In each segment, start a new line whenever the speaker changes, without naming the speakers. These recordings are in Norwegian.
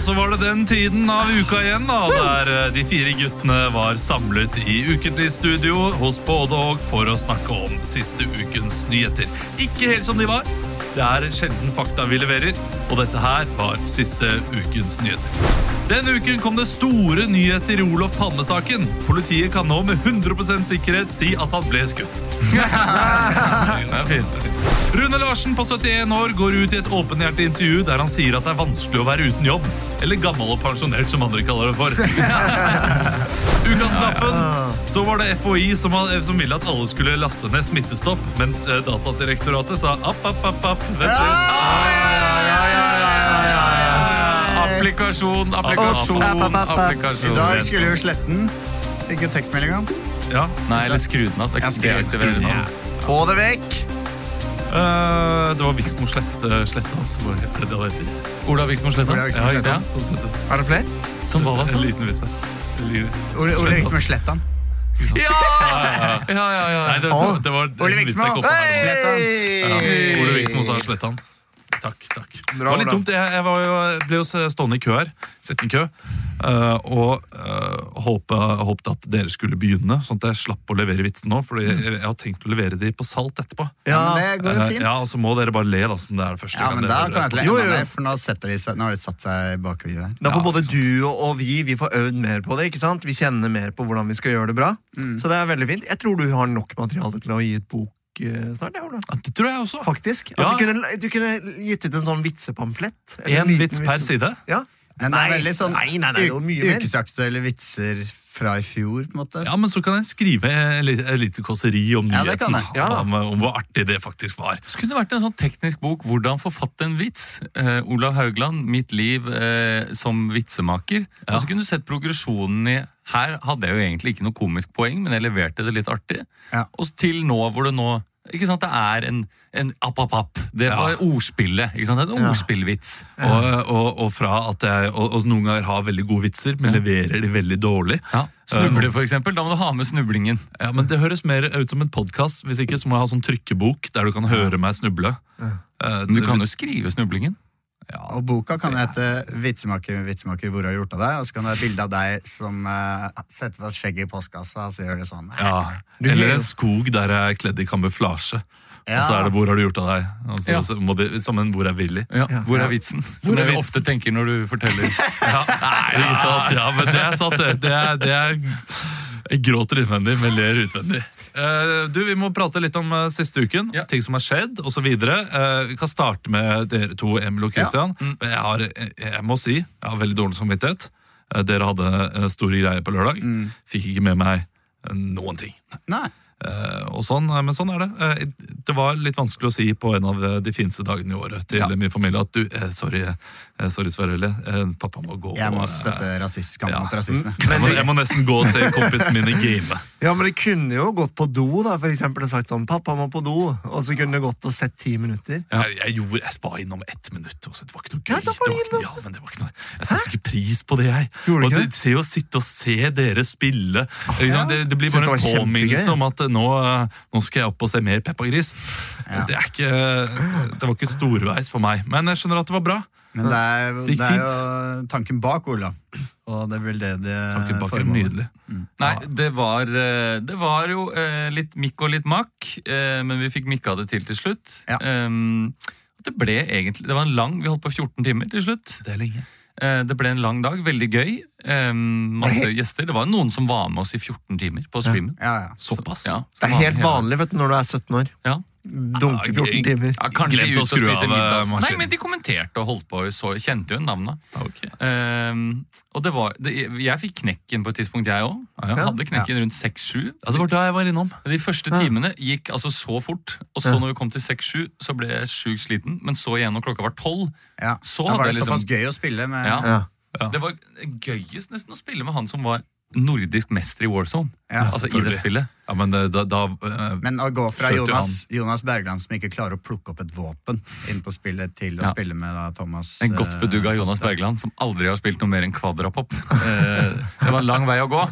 så var det den tiden av uka igjen, da, der eh, de fire guttene var samlet i ukentlig studio hos både og for å snakke om siste ukens nyheter. Ikke helt som de var. Det er sjelden fakta vi leverer, og dette her var siste ukens nyheter. Denne uken kom det store nyheter i Olof Palme-saken. Politiet kan nå med 100 sikkerhet si at han ble skutt. Det er fint. Rune Larsen på 71 år går ut i et åpenhjertig intervju der han sier at det er vanskelig å være uten jobb. Eller gammel og pensjonert, som andre kaller det for. Ukas Laffen. Så var det FHI som, som ville at alle skulle laste ned Smittestopp, men eh, Datadirektoratet sa app, app, app, app. Vent litt.
Applikasjon,
Applikasjon,
applikasjon,
I dag
applikasjon.
skulle jo sletten. Fikk jo tekstmeldinga.
Ja.
Nei, eller skru den av. Det er
Jeg
ikke-
skru-
det er ikke veldig
Ja.
sånn.
Få det vekk!
Eh, det var Viksmo Slett, eh, Sletta hans. Hvor er det det han heter?
Ola Viksmo Sletta.
Ola Viksmo
Ja,
Sletta.
ja.
Sånn sett ut.
Er det flere?
Som hva da,
En
sånn?
liten vise. En liten-
Ole Ole Viksmo Slettan.
Ja! Ja, ja, ja.
Nei, det, det, det var
Ole
en vits jeg
Viksmo.
kom på her.
Hei!
Ja. Ole Viksmo sa slett han. Takk, takk. det var litt
Ola.
dumt. Jeg, jeg, var jo, jeg ble jo stående i kø her, sitte i kø, eh, og uh, håpet, håpet at dere skulle begynne, sånn at jeg slapp å levere vitsen nå, for
Mm.
jeg, jeg har tenkt å levere de på salt etterpå.
Ja, men det går jo
Eh,
fint.
ja, og så må dere bare le, da, som det er det første
Ja, men da
dere
kan jeg
hører
til
Jo,
enda
jo.
mer, for nå, setter de seg, nå har de satt seg bak huet her.
Da får både du og og vi vi får øvd mer på det. ikke sant? Vi kjenner mer på hvordan vi skal gjøre det bra. Så det er veldig fint. Jeg tror du har nok materiale til å gi ut bok eh, snart. Ja, Ola.
på. Ja, det tror jeg også.
Faktisk. At
Ja.
du, kunne, du kunne gitt ut en sånn vitsepamflett. Eller en
Én
liten
vits per
vitse-
side.
Ja.
Men det er
Nei,
veldig sånn
nei, nei, nei, det er jo mye
u-
mer.
ukesaktuelle vitser fra i fjor, på en måte.
Ja, men så kan jeg skrive et li- et lite kåseri om
Ja, det kan
nyheten.
jeg.
Ja.
om, om hvor artig det faktisk var.
Så kunne det vært en sånn teknisk bok 'Hvordan forfatte en vits'. Eh, Olav Haugland, 'Mitt liv eh, som vitsemaker'. Og så kunne du sett progresjonen i Her hadde jeg jo egentlig ikke noe komisk poeng, men jeg leverte det litt artig.
Ja.
Og så til nå hvor det nå ikke sant, Det er en, en app-app-app. Det var ordspillet. ikke sant, En ordspillvits.
Og, og, og fra at jeg og, og noen ganger har veldig gode vitser, men leverer de veldig dårlig.
Ja. Snuble, for eksempel. Da må du ha med snublingen.
Ja, men Det høres mer ut som en podkast. Hvis ikke så må jeg ha sånn trykkebok der du kan høre meg snuble. Eh,
Men du kan jo skrive snublingen.
Og boka kan jo hete 'Vitsemaker med vitsemaker, hvor har du gjort av deg?' Og så kan det være bilde av deg som eh, setter fast skjegget i postkassa, og så gjør det sånn.
ja.
Du
Eller
gjør-
en skog der jeg er kledd i kamuflasje. Og så er det 'Hvor har du gjort av deg?' Og så,
Ja.
så må de, som en 'Hvor er Willy'.
Ja. Hvor er vitsen?
Hvor
Som
er
jeg
vitsen?
ofte tenker når du forteller.
Ja. Ikke sant? Ja, men det er sant, det. det, er, det er, jeg gråter innvendig, men ler utvendig. Eh, du, Vi må prate litt om eh, siste uken,
Ja.
ting som har skjedd osv. Uh, vi kan starte med dere to, Emil og Christian. Men Jeg, har, jeg, jeg må si jeg har veldig dårlig samvittighet. Eh, dere hadde eh, store greier på lørdag. Fikk ikke med meg eh, noen ting.
Nei.
Eh, og sånn, eh, men sånn er det. Eh, det var litt vanskelig å si på en av eh, de fineste dagene i året til
Ja.
min familie at du, eh, sorry, eh, sorry Sverre, Øyli, eh, pappa må gå.
Jeg må
og, eh,
støtte rasist, kampen
ja.
mot rasisme.
jeg må, jeg må nesten gå og se kompisen min i game.
Ja, men det kunne jo gått på do, da, for eksempel, og sagt sånn 'Pappa må på do', og så kunne det gått og sett ti minutter.
Jeg, jeg, gjorde, jeg spa innom ett minutt. Også. Det var ikke noe gøy.
Ja, da var
det var,
det
ikke- ja, men det var ikke noe. Jeg setter ikke pris på det, jeg.
Gjorde du
Og
ikke
det,
det?
se å sitte og se dere spille ikke sant? det, det blir
Synes
bare en
det var
påminnelse
kjempegøy.
om at eh, nå, eh, nå skal jeg opp og se mer Peppa Gris. Det, er ikke, det var ikke storveis for meg. Men jeg skjønner at det var bra.
Men det er,
Det gikk
det er jo tanken bak, Ola. Og det er vel det de
Tanken bak er
formålet.
nydelig.
Nei, det var, eh, det var jo eh, litt mikk og litt makk, eh, men vi fikk mikka det til til slutt.
Ja.
Ehm, Det ble egentlig, det var en lang, vi holdt på 14 timer til slutt.
Det er lenge.
Eh, Det ble en lang dag, veldig gøy. Ehm, Masse gjester. Det var jo noen som var med oss i 14 timer på streamen.
Ja, ja.
Såpass.
Ja, som
Det er
var
helt
med hele-
vanlig vet du, når du er 17 år.
Ja.
Dunke 14 timer.
Ja, kanskje
Glemte
ut
å
og
skru
spise
av,
middag.
eh,
Nei,
maskinen.
men de kommenterte og holdt på, så kjente jo navnet.
Ok.
Ehm, og det var, det, jeg fikk knekken på et tidspunkt, jeg òg.
Ja.
Hadde knekken rundt 6-7.
Ja, det var da jeg var innom.
De første timene gikk altså så fort, og så når vi kom til 6-7, så ble jeg sjukt sliten. Men så igjen når klokka var 12.
ja.
Så
Da
hadde
var
jeg
det
liksom
såpass gøy å spille med
ja.
Ja.
Ja.
Det var gøyest nesten å spille med han som var nordisk mester i Warzone.
Ja.
Altså i det
selvfølgelig.
spillet.
Ja, men eh, da, da eh,
Men å gå fra
Skjøter
Jonas, Jonas Bergland, som ikke klarer å plukke opp et våpen, inn på spillet til å
Ja.
spille med da, Thomas eh,
En godt bedugga Jonas Bergland som aldri har spilt noe mer enn kvadrapop. Eh, Det var en lang vei å gå.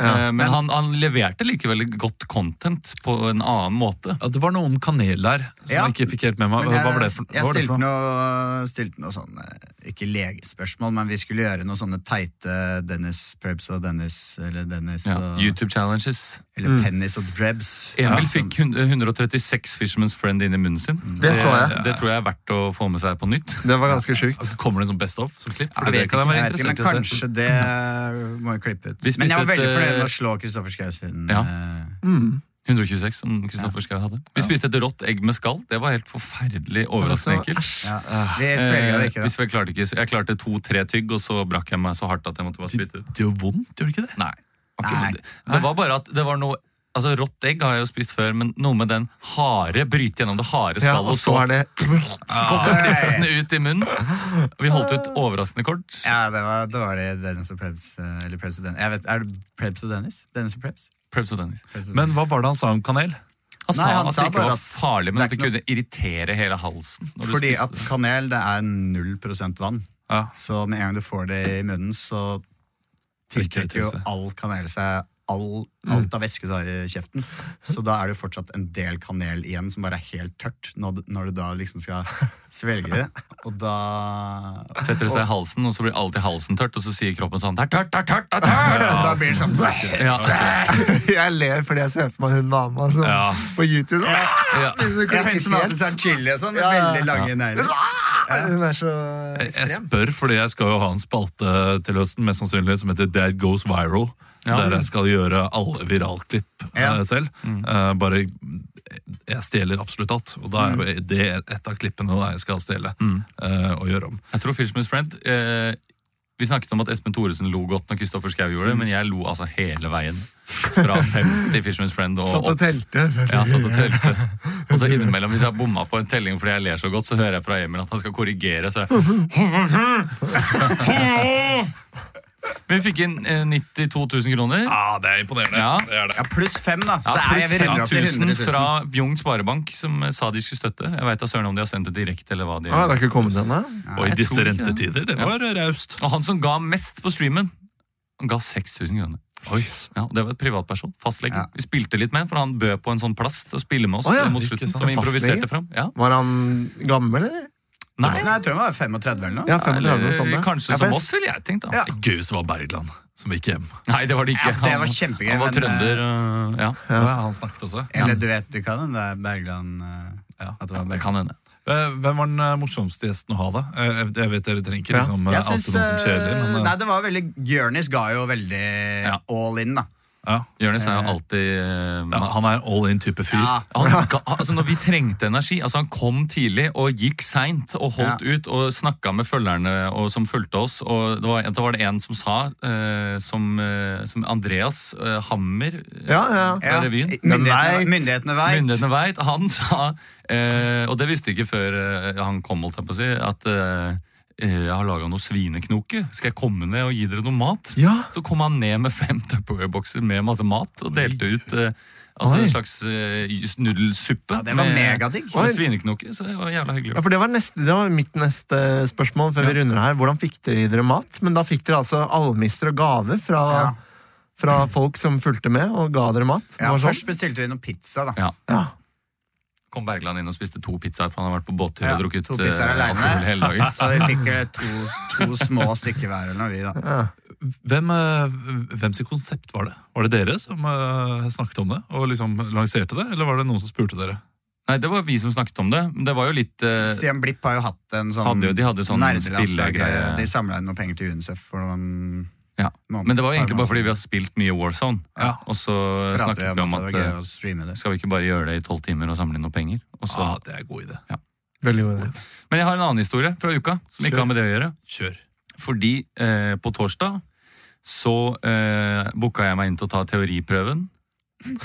Eh, Men han, han leverte likevel godt content på en annen måte.
ja, Det var noe om kanel der som
Ja.
jeg ikke fikk helt med meg.
Men
Hva
jeg,
var det for, hva
jeg
var det for
stilte
noe?
noe, stilte noe sånn eh, Ikke legespørsmål, men vi skulle gjøre noe sånne teite Dennis Prebz og Dennis Eller Dennis
Ja.
og
YouTube challenges.
Eller Pennis og Drebs.
Emil
Ja,
fikk hun- 136 Fisherman's Friend inn i munnen sin.
Det så jeg.
Det tror jeg er verdt å få med seg på nytt.
Det var ganske sjukt.
Kommer det som Best of? Som klipp? Fordi
Jeg
det
vet
kan jeg
ikke,
være
Jeg vet ikke,
interessert
men
i. å se.
kanskje det eh, må jeg klippe ut.
Vi spiste
Men jeg var veldig
et, eh,
fornøyd med å slå Kristoffer Schau sin
Ja.
eh,
126 som Kristoffer Schau hadde. Vi spiste et rått egg med skall. Det var helt forferdelig overraskende
Altså,
ekkelt.
ja. Vi svelga det
Eh,
ikke,
hvis
da.
vi klarte ikke, så jeg klarte to-tre tygg, og så brakk jeg meg så hardt at jeg måtte bare spytte ut.
Det gjør vondt, gjør det ikke det?
Nei.
Nei.
Det, det var bare at det var noe Altså, Rått egg har jeg jo spist før, men noe med den harde bryte gjennom det harde
Ja,
skallet,
og så er det
kompressen ut i munnen. Vi holdt ut overraskende kort.
Ja, det var dårlig Dennis og Prebz. eh, Eller Prebz og Dennis. Jeg vet, er det Prebz og Dennis? Dennis og Prebz?
Prebz og Dennis.
Prebz og
Men hva var det han sa om kanel?
Han sa
Nei, han
at
sa
det ikke
bare
var
at
farlig, men
det er
at det
ikke
kunne irritere hele halsen. når du
Fordi
spiste
at kanel det er 0 vann.
Ja.
Så med en gang du får det i munnen, så tiltrekker jo
Tiltrekker det seg.
all kanel seg all, alt av væske du har i kjeften. Så da er det jo fortsatt en del kanel igjen som bare er helt tørt når du, når du da liksom skal svelge det. Og da
det. Setter det seg i halsen, og så blir alltid halsen tørt, og så sier kroppen sånn Det er tørt, det er tørt, det
og
er tørt!
da blir det sånn
Ja, ok.
Jeg ler fordi jeg ser for meg hun dama som
Ja.
på YouTube.
Ja.
Det er hun som alltid tar chili og sånn, med
Ja, ja.
veldig lange negler.
Hun er så
Jeg- Jeg
ekstrem.
spør, fordi jeg skal jo ha en spalte til høsten mest sannsynlig som heter Dad Goes Viral.
Ja.
Der jeg skal gjøre alle viralklipp
Ja.
eh, selv. Eh, bare jeg stjeler absolutt alt. Og da er jo det et av klippene da jeg skal stjele eh, og gjøre om.
Jeg tror Fishman's Friend eh, Vi snakket om at Espen Thoresen lo godt når Kristoffer Schau gjorde det, men jeg lo altså hele veien. Fra fem til Fishman's Friend og
Satt og
opp.
telte.
Ja, satt og telte. Og så innimellom, hvis jeg har bomma på en telling fordi jeg ler så godt, så hører jeg fra Emil at han skal korrigere. Så jeg Vi fikk inn eh, 92 000 kroner.
Ja, Ah, det er imponerende.
Ja.
Det er det.
Ja, pluss fem, da. Så det
Ja,
er jeg
pluss
vi runder opp til
5000
100
fra
000.
Bjugn Sparebank, som eh, sa de skulle støtte. Jeg veit da søren om de har sendt det direkte, eller hva de
Ah, det er ikke kommet ennå?
Og i
jeg
disse
tror ikke det.
rentetider, det var raust.
Og han som ga mest på streamen, han ga 6000 kroner.
Oi.
Ja, og Det var et privatperson. Fastlege.
Ja.
Vi spilte litt med han, for han bød på en sånn plass til å spille med oss.
Å ja,
eh, mot
ikke
slutten,
sant.
som vi
Fastlege?
improviserte fram. Ja.
Var han gammel, eller?
Nei,
Nei, jeg tror det var 35 eller noe.
Ja, 35
eller,
og sånn. ja.
kanskje
Ja, for
som
jeg-
oss, ville jeg tenkt. da.
Ja.
Gøy hvis det var Bergland som gikk hjem.
Nei, det var det ikke.
Ja, det var
Han-
kjempegøy,
Han var
men,
trønder. øh, ja.
Ja. han snakket også.
Eller du vet du kan den der Bergland eh,
Ja.
at det var
Det
Bergland.
kan hende.
Eh, Hvem var den eh, morsomste gjesten å ha, da? Eh, Jeg jeg vet dere trenger ikke
Ja.
liksom, ja.
Jeg
alltid
syns
noen som kjeder,
eh,
men
Nei,
eh,
det var veldig Jonis ga jo veldig
øh, Ja.
all in, da.
ja.
Jonis er jo alltid øh,
Ja, Han er en all in-type fyr.
Ja.
Han, ga- altså når vi trengte energi altså Han kom tidlig og gikk seint og holdt ut og snakka med følgerne og, som fulgte oss. Og det var, da var det en som sa, eh, som, eh, som Andreas eh, Hammer eh,
Ja, ja.
fra revyen
myndighetene,
vet.
myndighetene veit.
Myndighetene veit. Han sa, eh, og det visste jeg ikke før eh, han kom, holdt jeg på å si, at eh, eh, jeg har laga noe svineknoke. Skal jeg komme ned og gi dere noe mat?
Ja,
Så kom han ned med fem Tupperware-bokser med masse mat og delte ut eh, altså
Oi.
en slags eh, just- nudelsuppe.
Ja, det var
med-
megadigg.
Med svineknoke, så det var jævla
ja
hyggelig.
for det var, neste, det var mitt neste spørsmål før vi runder her. Hvordan fikk dere i dere mat? Men da fikk dere altså almisser og gaver fra,
Ja.
fra folk som fulgte med og ga dere mat. Det
Ja,
var sånn.
først bestilte vi noe pizza, da.
Ja.
Ja.
Kom Bergland inn og spiste to pizzaer, for han har vært på båttur
Ja,
og drukket
to
eh,
pizzaer alene.
alkohol hele dagen.
Så vi fikk eh, to, to små stykker hver eller noe, vi, da.
Hvem, eh, hvem sitt konsept var det? Var det dere som eh, snakket om det og liksom lanserte det, eller var det noen som spurte dere?
Nei, det var vi som snakket om det. men Det var jo litt eh,
Stian Blipp har jo hatt en sånn
Hadde jo- de hadde jo sånn
nerdelandslag. øh,
spillegreie.
De samla inn noe penger til UNICEF for noen
ja.
måneder-
Men det var jo egentlig
par
bare fordi vi
måneder
har spilt mye War Zone.
Ja.
Og så
siden. Pratet
snakket vi om at
det var gøy
eh,
å streame det.
skal vi ikke bare gjøre det i tolv timer og samle inn noen penger? Og så.
Ja, "Ah, det er en god idé.
Veldig god idé.
Men jeg har en annen historie fra uka som
Kjør.
ikke har med det å gjøre.
Kjør.
Fordi eh, på torsdag så eh, booka jeg meg inn til å ta teoriprøven. Eh,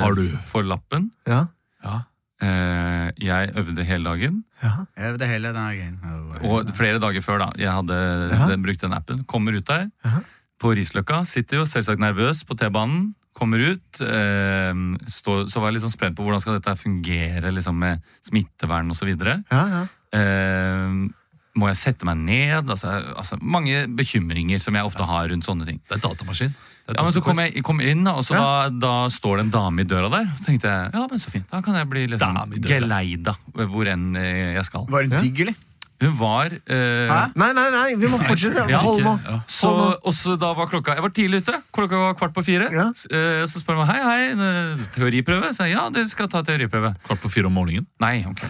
Har du?
For lappen.
Ja.
Ja.
Eh, jeg øvde hele dagen.
Ja.
Øv det hele den her gangen.
Og flere dager før, da. Jeg hadde
Ja.
den- brukt den appen. Kommer ut der.
Ja.
på Risløkka. Sitter jo selvsagt nervøs på T-banen. Kommer ut. Eh, står, så var jeg litt sånn spent på hvordan skal dette her fungere liksom med smittevern osv.
Ja, ja.
Eh, må jeg sette meg ned? Altså, altså, mange bekymringer som jeg ofte har rundt sånne ting.
Det er datamaskin. Det er
Ja, men så kom
datamaskin.
jeg kom jeg inn, da, og så da, da står det en dame i døra der. Så tenkte jeg ja, men så fint, da kan jeg bli liksom
Dame i døra.
geleida hvor enn eh, jeg skal.
Var hun
Ja.
digg, eller?
Hun var eh,
Hæ? Nei, nei, nei, vi må fortsette.
Ja,
Hold nå.
Ja.
Så, og så da var klokka Jeg var tidlig ute. Klokka var kvart på fire.
Ja.
S- eh, Så spør hun meg hei, hei, eh, teoriprøve. Så jeg ja, dere skal ta teoriprøve.
Kvart på fire om morgenen.
Nei, ok.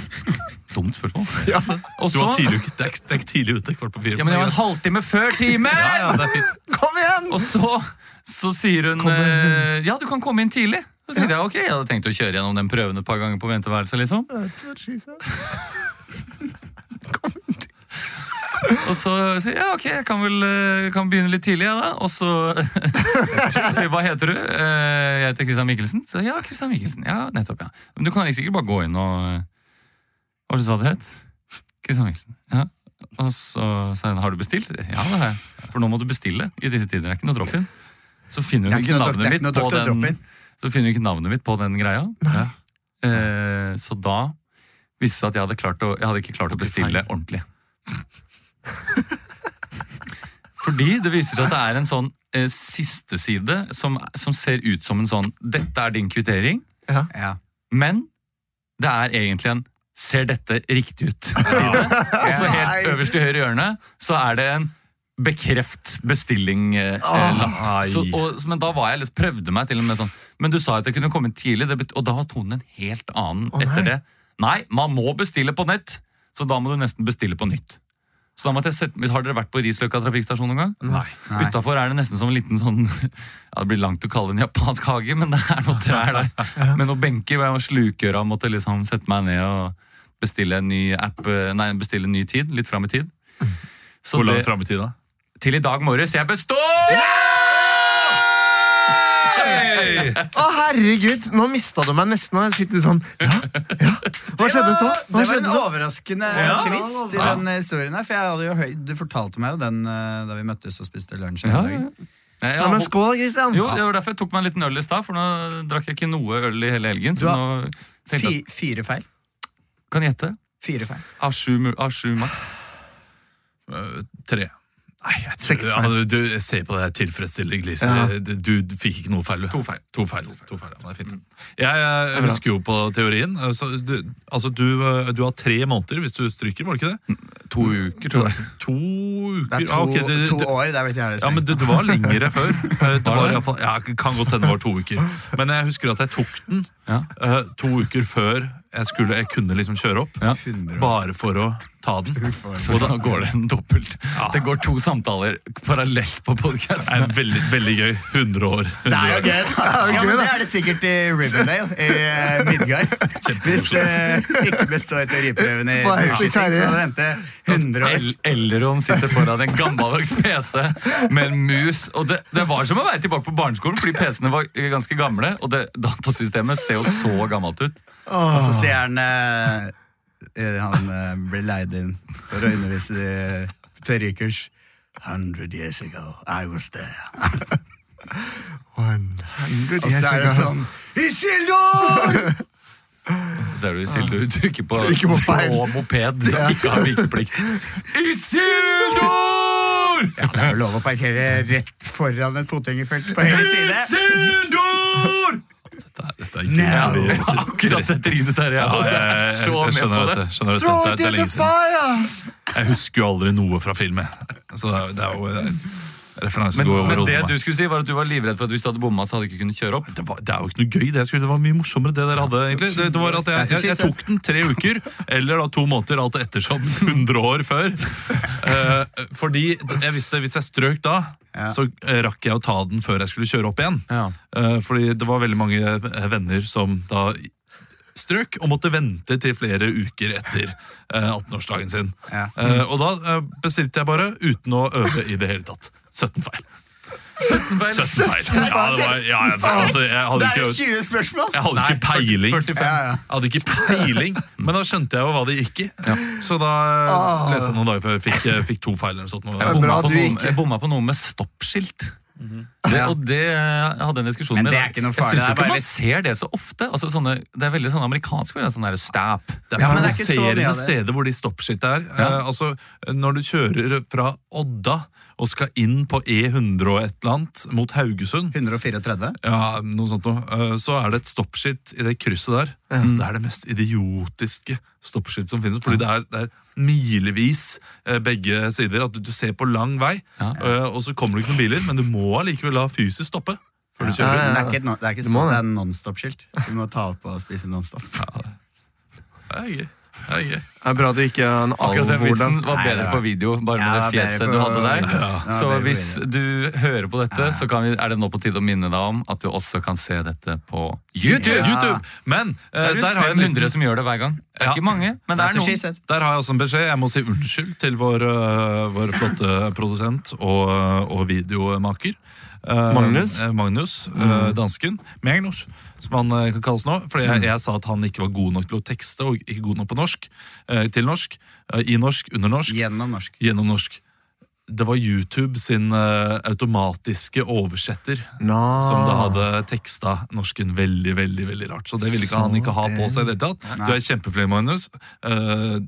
Dumt spørsmål.
Ja.
Og
Du var
så
tidlig, ute- det er ikke- det er ikke tidlig ute. Kvart på fire.
Ja, men jeg var en halvtime før timen!
ja, ja, det er fint.
Kom igjen!
Og så, så sier hun eh, ja, du kan komme inn tidlig. Så tenkte jeg ok, jeg hadde tenkt å kjøre gjennom den prøven et par ganger på venteværelset. liksom.
That's what she said.
Og så sier jeg ja, ok, jeg kan vel eh, kan begynne litt tidlig, jeg da. Og så, så sier jeg, hva heter du? Eh, Jeg heter Christian Mikkelsen. Så ja, Christian Mikkelsen. Ja, nettopp, ja. Men du kan ikke sikkert bare gå inn og eh, Hva var det du sa det het? Christian Mikkelsen. Ja. Og så sa hun har du bestilt? Ja, det har jeg. For nå må du bestille i disse tider. Det er ikke noe drop-in. Så finner
Det
hun
er
ikke
ikke noe
navnet
doc- det er
mitt
ikke noe
på
doktor
den
drop-in.
Så finner hun ikke navnet mitt på den greia. Ja. Eh, så da viste det seg at jeg hadde, klart å, jeg hadde ikke klart å bestille ordentlig. Fordi det viser seg at det er en sånn eh, siste side som, som ser ut som en sånn 'dette er din kvittering',
Ja.
men det er egentlig en 'ser dette riktig ut'-side. Og så Altså, helt
Nei.
øverst i høyre hjørne så er det en bekreft eh,
Ah.
bestilling-lapp. men da var jeg litt, prøvde meg til og med sånn Men du sa at jeg kunne komme tidlig, det bet og da var tonen en helt annen
Å, nei.
etter det. Nei, man må bestille på nett, så da må du nesten bestille på nytt. Så da måtte jeg sette, Har dere vært på Risløkka trafikkstasjon noen gang?
Nei.
Nei.
Utafor er det nesten som en liten sånn ja, Det blir langt å kalle det en japansk hage, men det er noen trær der. Med noen benker hvor jeg var slukøra og måtte liksom sette meg ned og bestille en ny app eh, Nei, bestille en ny tid. Litt fram i tid. Så
Hvor langt
det-
fram i tid, da?
Til i dag morges. Jeg består!
Hey!
Å, herregud! Nå mista du meg nesten. og Jeg sitter sånn Ja, ja. Hva skjedde så? Hva
Det var en
skjedde så?
overraskende
Ja.
twist i
Ja.
den historien her. For jeg hadde jo høy, du fortalte meg jo den eh, da vi møttes og spiste lunsj.
Ja,
Ja,
ja. Nei, jeg
Ja, men
har-
skål, Christian.
jo, det var derfor jeg tok meg en liten øl i stad, for nå drakk jeg ikke noe øl i hele helgen. Så
Du har-
nå tenkte jeg
Fi, fire feil.
kan jeg gjette.
Fire feil.
Av sju mu- av sju maks.
Eh, tre. Nei, jeg tror,
Seks feil.
ja, du, du, jeg ser på det her tilfredsstillende gliset.
Ja.
Du, du fikk ikke noe feil, du.
To feil.
To feil. To feil. Ja, det er fint. Jeg, eh,
bra.
husker jo på teorien. eh, Så du, altså, du, eh, du har tre måneder hvis du stryker, var det ikke det?
To uker, tror jeg.
To uker
Det er to,
Ah, ok, det,
to
det,
år. Det er vel ikke jævlig
ja, men
strengt.
det, det var lengre før. Eh, Det
Var
var
det?
i hvert fall, ja, kan godt hende det var to uker. Men jeg husker at jeg tok den
Ja.
eh, to uker før jeg, skulle, jeg kunne liksom kjøre opp.
Ja.
100 år.
Bare for å ta den.
Så da går det en dobbelt. Det går to samtaler parallelt på
Det er
podkasten.
veldig, veldig gøy. 100 år. 100
Det er jo
år.
gøy. da. Ja, men det er det sikkert i Rivendale i eh, Midgard. Hvis eh, det ikke består teoriprøven i
Bare så
bullshitting, så
kjære.
hadde det hendt det 100 år.
El Elron sitter foran en gammeldags PC med en mus. Og det, det var som å være tilbake på barneskolen, fordi PC-ene var eh, ganske gamle. Og det, datasystemet ser jo så gammelt ut.
Og så sier han eh, eh, Han eh, blir leid inn for å undervise i teorikurs. 100 years ago, I was there. Og så er det sånn Isildur!
Så ser du Isildur trykker på,
Trykker på feil.
og moped som ikke har vikeplikt. Isildur!
Ja, det er jo lov å parkere rett foran et fotgjengerfelt på høyre side.
Isildur!
Dette er, dette er
Now.
jævlig-
Akkurat sett Trine Sterje.
Ja,
Altså,
jeg,
jeg er
jeg,
så
jeg
med
skjønner
på
dette.
det.
Skjønner dette.
Throw it
Dette er
in the
lenge siden.
fire!
Jeg husker jo aldri noe fra film. jeg. Så det er- det er jo Referansen
Men,
går over
men det
hodet på
du
meg.
skulle si, var at du var livredd for at hvis du hadde bomma, så hadde du ikke kunnet kjøre opp.
Det, var, det er jo ikke noe gøy. Det, jeg skulle, det var mye morsommere, det dere hadde. egentlig. Det, det var at jeg, jeg, jeg tok den tre uker, eller da to måneder, alt ettersom, 100 år før. Eh, fordi jeg visste hvis jeg strøk da,
Ja.
så eh, rakk jeg å ta den før jeg skulle kjøre opp igjen. Eh, Fordi det var veldig mange eh, venner som da strøk og måtte vente til flere uker etter eh, 18-årsdagen sin.
Ja.
Eh, Og da eh, bestilte jeg bare uten å øve i det hele tatt. 17 feil.
17 feil.
17 feil. Ja, det var, ja, jeg, altså, jeg
Det
hadde
er jo
ikke,
20 spørsmål!
jeg hadde ikke peiling.
45.
Ja, ja.
Jeg hadde ikke peiling, men da skjønte jeg jo hva det gikk i. Så da eh,
Ah.
leste jeg noen dager før jeg fikk, eh, fikk to feil. eller noe sånt.
Jeg
er
bomma,
bra
på
du
noe,
ikke-
jeg bomma på noe med stoppskilt. Det,
Ja.
og det jeg hadde en diskusjon
Mhm. Men
med i
det er
dag.
ikke noe
Jeg
farlig, det
syns jo
er
ikke
bare
man
litt-
ser det så ofte. Altså, sånne, det er veldig sånn amerikansk. veldig Sånn der, stab.
Det er
Ja, men det
er ikke så
provoserende
mye av det.
steder hvor de stoppskilt er.
Ja.
Eh, altså, når du kjører fra Odda og skal inn på E100 og et eller annet mot Haugesund,
134.
ja, noe sånt noe, eh, så er det et stoppskilt i det krysset der. Det er det mest idiotiske stoppskiltet som finnes, fordi det er, det er milevis eh, begge sider. At du, du ser på lang vei,
Ja.
eh, og så kommer det ikke noen biler, men du må allikevel la fysisk stoppe. Før du
Ja,
kjører
men det er ikke, et no- det er ikke
Du må
så,
det.
det er en nonstop-skilt. Du må ta opp og spise nonstop.
Det er gøy. Det er gøy.
Det er bra du ikke er en
Akkurat den vitsen
alvordan.
var
Nei,
bedre
det var-
på video, bare med
Ja,
det
det var
fjeset
bedre
du
på-
hadde
Ja,
der.
det var
Så
bedre på
hvis du hører på dette, så kan vi, er det nå på tide å minne deg om at du også kan se dette på YouTube.
Ja.
YouTube. Men eh,
Det er
der har jeg en liten
500 som gjør det hver gang. Det er
Ja.
ikke mange, men det
That's
er
what she
noen.
said.
Der har jeg også en beskjed. Jeg må si unnskyld til vår, øh, vår flotte produsent og, og videomaker. Eh,
Magnus?
eh, Magnus, eh, dansken. Magnus, som han eh, kan kalles nå. Fordi jeg, jeg sa at han ikke var god nok til å tekste, og ikke god nok på norsk. eh, til norsk. eh, I norsk, under norsk,
Gjennom norsk.
gjennom norsk. Det var YouTube sin eh, automatiske oversetter
Nå.
som da hadde teksta norsken veldig veldig, veldig rart. Så det ville ikke han ikke ha på seg. i det hele tatt. Du er kjempeflink, Magnus. Uh,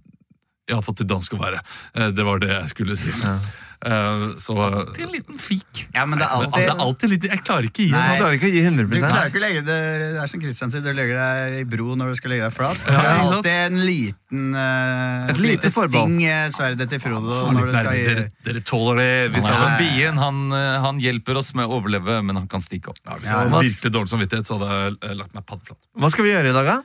Iallfall til dansk å være. Eh, det var det jeg skulle si. Eh, så
Til en liten fik.
Ja, men det er
Det er
alltid
alltid litt Jeg klarer ikke å gi
Du
det.
Nei.
klarer ikke å gi
du
100
klarer ikke å legge det, det er som Kristiansen sier, du legger deg i bro når du skal legge deg flat. Det
Ja,
er
ikke sant?
alltid en liten eh,
Et lite forbehold.
sting eh, sverdet til Frodo
Litt
når du skal
nærmere.
gi
Dere, dere tåler det. Hvis jeg
Han, er
hadde
som bien, han, eh, han hjelper oss med å overleve, men han kan stikke opp.
ja, hvis jeg hadde virkelig dårlig samvittighet, så hadde jeg eh, lagt meg paddeflat.
Hva skal vi gjøre i dag, da?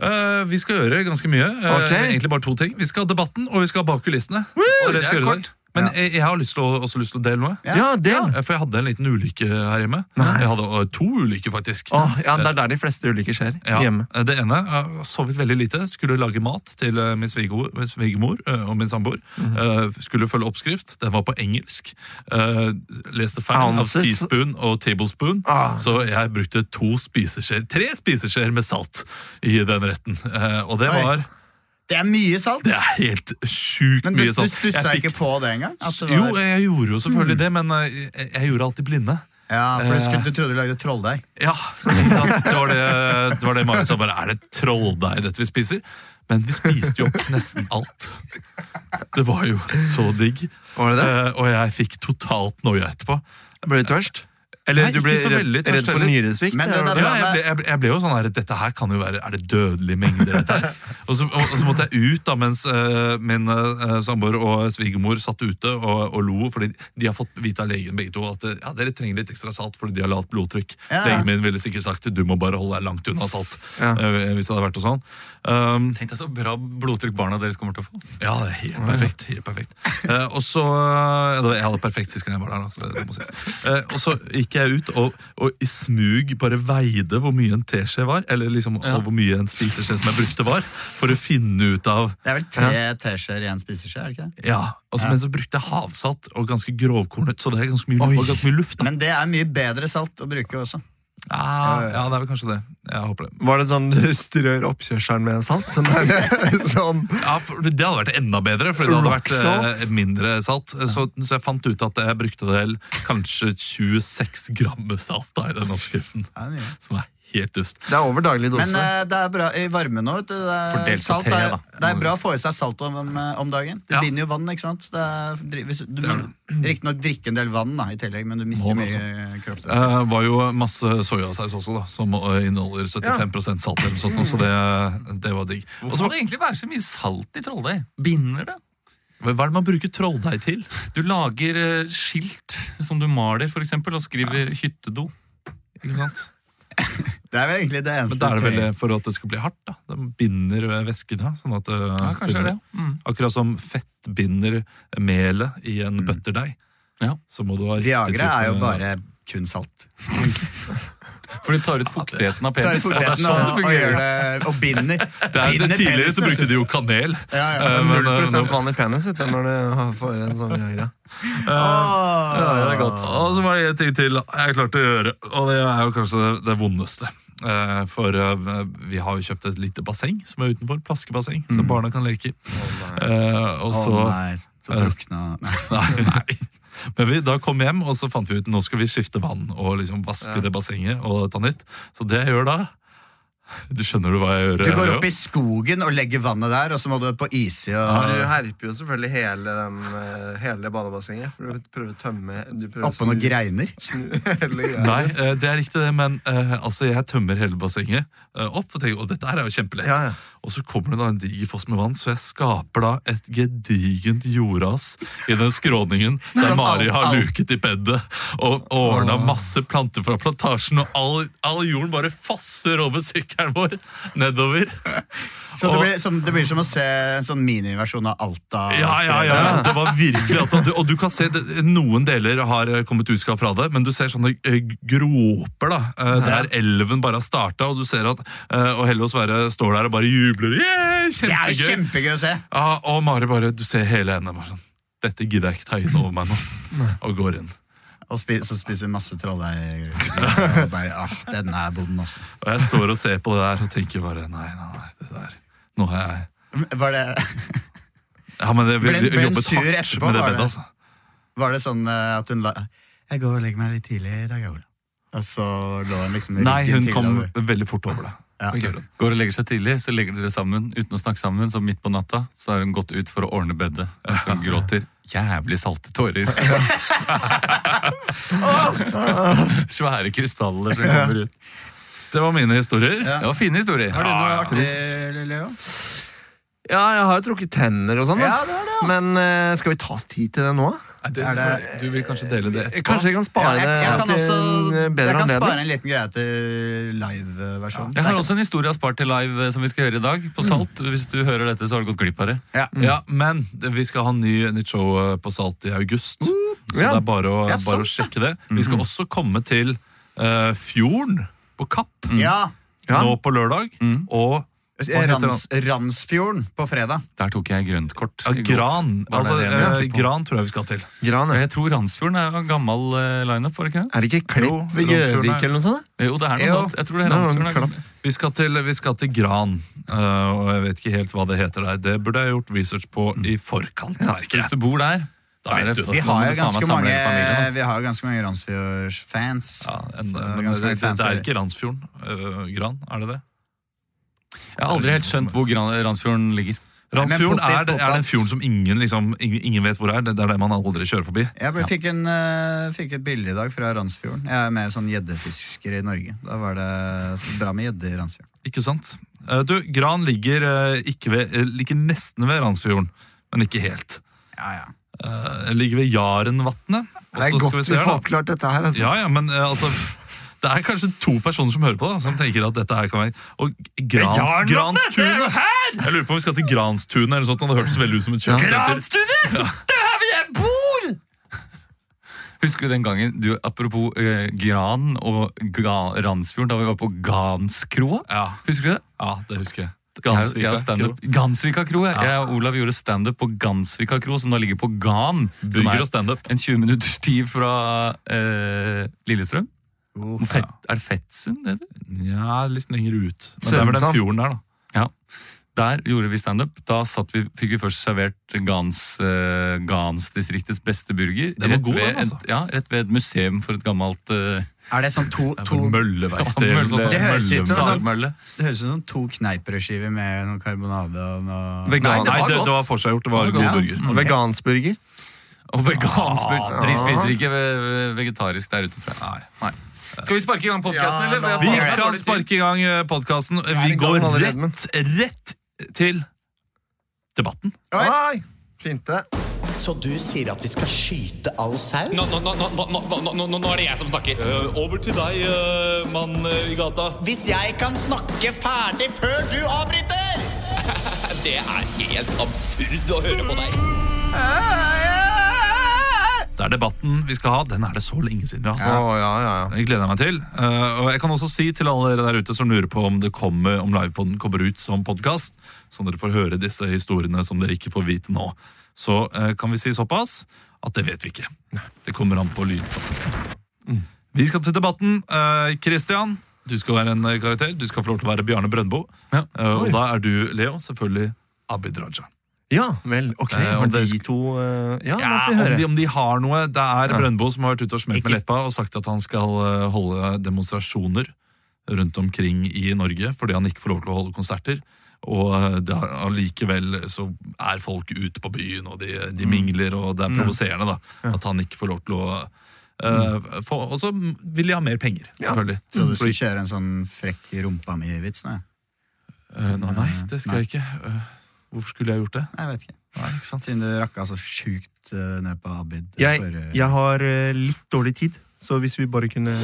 Eh, vi skal gjøre ganske mye. Eh,
Ok.
Egentlig bare to ting. Vi skal ha debatten, og vi skal ha bak kulissene. Og det
det
skal
er
vi gjøre i
kort.
dag. Men jeg, jeg har lyst til å, også lyst til å dele noe.
Ja,
Ja.
det!
Ja, For jeg hadde en liten ulykke her hjemme. Jeg hadde øh, to ulykker, faktisk.
Åh, ja, det er der de fleste ulykker skjer.
Ja,
Hjemme.
Det ene jeg sovet veldig lite. Skulle lage mat til øh, min svigermor- min svigermor øh, og min samboer.
Mhm.
Øh, Skulle følge oppskrift. Den var på engelsk. Øh, Leste feil av
Ounces.
teaspoon og tablespoon.
Ah.
Så jeg brukte to spiseskjeer, tre spiseskjeer med salt i den retten. Eh, Og det
Oi.
var
Det er mye salt!
Det er helt sjukt
Men du,
mye
du
salt. Jeg
stussa
fikk-
ikke på det engang? At det
Jo,
var- Hmm.
jeg gjorde jo selvfølgelig det, men øh, jeg jeg gjorde alltid blinde.
ja, for du, skulle, du trodde du lagde trolldeig.
Ja, det var det, det, var det Marit sa. Bare, er det trolldeig dette vi spiser? Men vi spiste jo opp nesten alt. Det var jo så digg.
Var det det?
Eh, og jeg fikk totalt noia etterpå.
Ble du tørst?
Nei,
Eller du
ikke
ble
så
redd,
veldig tørst
redd for
heller.
nyresvikt?
Men det
eller
der-
hva?
Ja, jeg, ble, jeg, ble- jeg ble jo sånn her Dette her kan jo være Er det dødelige mengder, dette her? Og så, og, og så måtte jeg ut, da, mens eh, min eh, samboer og svigermor satt ute og, og lo. Fordi de har fått vite av legen begge to at eh, ja, dere trenger litt ekstra salt fordi de har lavt blodtrykk.
Ja.
Legen min ville sikkert sagt du må bare holde deg langt unna salt.
Ja.
eh, hvis det hadde vært noe sånn. Um,
Tenk deg så bra blodtrykk barna deres kommer til å få.
ja, det er helt perfekt. Helt perfekt. Eh, og så eh, ja, det var- Jeg hadde perfekt sist gang jeg var der. da, Så det må sies. Eh, og så gikk jeg ut og, og i smug bare veide hvor mye en teskje var. Eller liksom
Ja.
og hvor mye en spiseskje som jeg brukte, var. For å finne ut av
Det er vel tre teskjeer i en spiseskje? er det ikke det?
Ja. Og så,
Ja.
Men så brukte jeg havsalt og ganske grovkornet, så det er ganske mye,
Oi.
og ganske mye luft. da
Men det er mye bedre salt å bruke også.
ja, ja, det er vel kanskje det. Jeg håper det.
Var det sånn du strør oppkjørselen med salt? Sånn der, sånn.
Ja, for Det hadde vært enda bedre, for det hadde vært eh,
Rocksalt.
mindre salt. Så, så jeg fant ut at jeg brukte vel kanskje 26 gram med salt da, i den oppskriften.
Ja, det er mye.
Som er helt dust.
Det er over daglig dose.
Men eh, det er bra i varme nå. vet du. Det er,
Fordelt på
salt
tre,
er,
da.
det er bra å få i seg salt om, eh, om dagen. Det
Ja.
binder jo vann, ikke sant. Det er, dri- hvis, du må riktignok drikke en del vann da, i tillegg, men du mister
Må
jo
det,
mye kroppsvæske.
Det Eh, var jo masse soyasaus også, da, som eh, inneholder 75 salt. eller noe sånt, nå, så det, det var digg. Og
Hvorfor
så
må det egentlig være så mye salt i trolldeig? Binder det?
hva er det man bruker trolldeig til?
Du lager eh, skilt som du maler, for eksempel, og skriver hyttedo.
Ikke sant?
Det er vel egentlig det eneste.
Men da er det
tre-
vel eh, for at det skal bli hardt. da. Det binder eh, væsken. da, sånn at det
Ja, kanskje
stivner.
det. Mm.
Akkurat som fett binder melet i en bøtterdeig.
Ja.
Så må du ha riktig
Viagra er jo
type-
bare kun salt.
For du tar ut fuktigheten av
Tar
penis. og Det er
poteten
sånn
og,
det
og, gjør
fungerer.
det, og binder.
Det er,
binder
tidligere
penisen,
så brukte
vet du.
de jo kanel.
ja, ja.
Eh, men, eh,
0
nå-
vann i penis vet du, når du har- får en sånn greie.
Åh.
Og så var det en ting til jeg klarte å gjøre, og det er jo kanskje det, det vondeste. Eh, For eh, vi har jo kjøpt et lite basseng som er utenfor, plaskebasseng, som barna kan leke i. Eh, Og
Å
så
nei, så drukna Nei.
Nei. Men vi, da kom vi hjem, og så fant vi ut nå skal vi skifte vann og liksom vaske det bassenget. og ta nytt. Så det jeg gjør da Du skjønner du hva jeg gjør?
Du går opp i skogen og legger vannet der, og så må du på issida.
Du herper jo selvfølgelig hele, den, eh, hele badebassenget. For du prøver å tømme du prøver å
Oppå noen
snu-
greiner.
snu hele greia.
Nei, eh, det er riktig det, men eh, altså, jeg tømmer hele bassenget eh, opp og tenker, å, dette her er jo kjempelett.
Ja, ja.
Og så kommer det da en diger foss med vann, så jeg skaper da et gedigent jordras i den skråningen der
Som
Mari
alt-
har
alt.
luket i bedet og ordna masse planter fra plantasjen, og all, all jorden bare fosser over sykkelen vår nedover.
Så det
Og-
blir, som, det blir som å se en sånn miniversjon av Alta.
Ja, ja, ja, det var virkelig at det, Og du kan se, det, noen deler har eh, kommet utskadd fra det, men du ser sånne eh, groper da, eh, der elven bare har starta, og du ser at eh, og Helle og Sverre står der og bare jubler.
Det er
Yeah,
jo
kjempegøy!
kjempegøy å se!
ja, og Mari bare, du ser hele henne bare sånn, dette gidder jeg ikke ta inn over meg nå, og går inn.
Og spi, så spiser vi masse trolldeig. og bare, Ah, den er vond, altså.
Og jeg står og ser på det der og tenker bare, nei, nei, nei, det der, nå har jeg,
Var det,
ja, men det, vi,
Ble- ble
vi
hun
jobbet
sur
hardt
etterpå,
med det
var det?
bedet, altså.
var det sånn eh, at hun la Jeg går og legger meg litt tidlig i dag, jeg, Ola. Og så lå hun liksom i
Nei,
ryggen
hun
til,
kom
og-
veldig fort over det.
ja.
Det gjør hun.
Går og legger seg tidlig, så legger dere sammen uten å snakke sammen. Så midt på natta så har hun gått ut for å ordne bedet. Så hun gråter jævlig salte tårer. Svære krystaller som kommer ut.
Det var mine historier.
Ja.
Det var fine historier.
Har du noe
Ja,
artig, Leo?
Ja, jeg har jo trukket tenner og sånn, da.
Ja, det har du, ja.
Men eh, skal vi ta oss tid til det nå?
Nei, Du,
Er det-
du vil kanskje dele det etterpå?
Kanskje jeg
Ja,
kan spare
jeg, jeg kan
det
også
til en eh,
jeg
bedre
kan spare
anledning?
en liten greie til liveversjonen.
Jeg har også en historie jeg har spart til live eh, som vi skal høre i dag. På Salt. Hvis du hører dette, så har du gått glipp av det.
Ja.
Ja, men vi skal ha ny, nytt show eh, på Salt i august. Så
ja.
det er bare å,
Ja,
bare å sjekke det. Vi skal også komme til eh, Fjorden på Kapp
Ja,
Ja.
nå på lørdag.
Mm.
Og eh, Hva heter
Rans, Ransfjorden på fredag.
Der tok jeg grønt kort.
ja,
i går.
Gran.
Var det
Altså,
det jeg
eh,
tenkte på?
gran tror jeg vi skal til.
Gran,
Og
ja.
Jeg tror Randsfjorden er en gammel eh, lineup, var det ikke det?
Er det ikke
Jo,
Klipp ved
Romsfjorden
Gjøvik
er-
eller noe sånt? da?
Jo, det er noe
Jo.
sånt. Jeg tror det er
Nei,
Randsfjorden.
klapp.
er-
Vi skal til, vi skal til Gran, eh, og jeg vet ikke helt hva det heter der. Det burde jeg gjort research på i forkant. merker
Hvis
jeg.
du bor der
Da
er
vet
det
du
Vi
det.
faen- da må
har jo
du faen meg
ganske
samle
mange,
hele familien, ass.
vi har jo ganske mange Ransfjords-fans.
Ja, en,
Så det er
men
ganske
det,
mange
det, det
fans,
er ikke Randsfjorden. eh, gran, er det det?
altså. Jeg har aldri helt skjønt hvor Gran- Randsfjorden ligger.
Men
Randsfjorden
potet,
er, det- er
potet.
den fjorden som ingen, liksom, ingen, ingen vet hvor er. Det det er det man aldri kjører forbi.
Jeg ble, fikk, en, eh, fikk et bilde i dag fra Ransfjorden. Jeg er med sånn gjeddefisker i Norge. Da var det så bra med gjedde i Ransfjorden.
Ikke sant? Eh, Du, Gran ligger, eh, ikke ved, eh, ligger nesten ved Randsfjorden, men ikke helt.
Ja, ja.
Eh, Ligger ved Jarenvatnet. og
Det
så
er
skal
godt vi
se her,
får
da.
oppklart dette her. altså.
Ja, ja, men eh, altså... Det er kanskje to personer som hører på da, som tenker at dette her kan være... Og Grans, Granstunet! Jeg lurer på om vi skal til Granstunet eller noe sånt, og det hørtes veldig ut som et kjøpsenter.
Husker du den gangen du, apropos eh, Gran og ga, Randsfjorden, da vi var på Ganskroa?
Ja,
Husker du det?
ja, det husker jeg.
Jeg- jeg
Gansvika,
og
Kro.
stand-up- Gansvika kro, ja. Jeg og Olav gjorde standup på Gansvika kro, som da ligger på Gan. Som
Bygger
er
og stand-up.
en 20 minutters tid fra eh, Lillestrøm.
Oh.
Fett, er det Fettsund? det heter?
Ja, litt lenger ut. Men det er vel den
sånn.
Sørumsand.
fjorden der da.
Ja. Der gjorde vi standup. Da satt vi, fikk vi først servert Gans, eh, Gansdistriktets beste burger.
Den var god,
ved
den, altså.
et, ja, rett ved et museum for et gammelt eh,
Er det sånn to,
Det er
to
vel Mølleverksted eller noe sånt.
Det
høres ut som sånn-
salmølle.
Det høres ut som to kneiperskiver med noe karbonade og noe
Vegan,
Nei, det,
godt.
det var forseggjort. Det var
Det var
god
godt.
burger.
ok.
Vegansburger.
Og vegansk burger.
Ah,
De spiser ikke ve- ve- vegetarisk der ute, tror jeg. Nei. Skal vi sparke i gang podkasten,
Ja,
eller?
la-
Vi
Jeg har
kan
Ah, dårlig tid.
sparke i gang podkasten. Vi
i gang
går
allerede, men-
rett, rett til debatten.
Oi.
Oi! Fint det.
Så du sier at vi skal skyte all sau?
Nå, nå, nå, nå, nå, nå, nå, nå er det jeg som snakker.
Eh, Over til deg, eh, mann i gata.
Hvis jeg kan snakke ferdig før du avbryter!
Det er helt absurd å høre på deg.
Dette er debatten vi skal ha. Den er det så lenge siden vi har hatt.
Å, ja, ja, ja.
Jeg gleder meg til. Eh, og jeg kan også si til alle dere der ute som lurer på om det kommer, om livepoden kommer ut som podkast, så dere får høre disse historiene som dere ikke får vite nå, så eh, kan vi si såpass at det vet vi ikke. Det kommer an på lydkvaliteten. Vi skal til debatten. Eh, Christian, du skal være en eh, karakter. Du skal få lov til å være Bjarne Brøndbo.
Ja.
Eh, og da er du, Leo, selvfølgelig Abid Raja.
Ja, vel, ok.
Eh, om
Var de
det-
to eh, Ja, la
Ja,
oss
om, de,
høre.
om de har noe. Det er Brøndbo som har vært ute og smelt med
Ikke-
leppa og sagt at han skal eh, holde demonstrasjoner rundt omkring i Norge fordi han ikke får lov til å holde konserter. Og eh, det er- allikevel så er folk ute på byen, og de, de
Mm.
mingler, og det er provoserende da, at han ikke får lov til å
Mm.
eh, få, Og så vil de ha mer penger, selvfølgelig.
Jeg trodde du
Fordi-
skulle kjøre en sånn frekk i rumpa mi-vits nå. jeg.
Eh, nei,
Mm.
det skal jeg ikke. Eh, hvorfor skulle jeg gjort det?
Jeg vet ikke.
Nei, ikke sant?
Siden du rakka så sjukt eh, ned på Abid. eh,
Jeg,
forrige-
jeg har eh, litt dårlig tid, så hvis vi bare kunne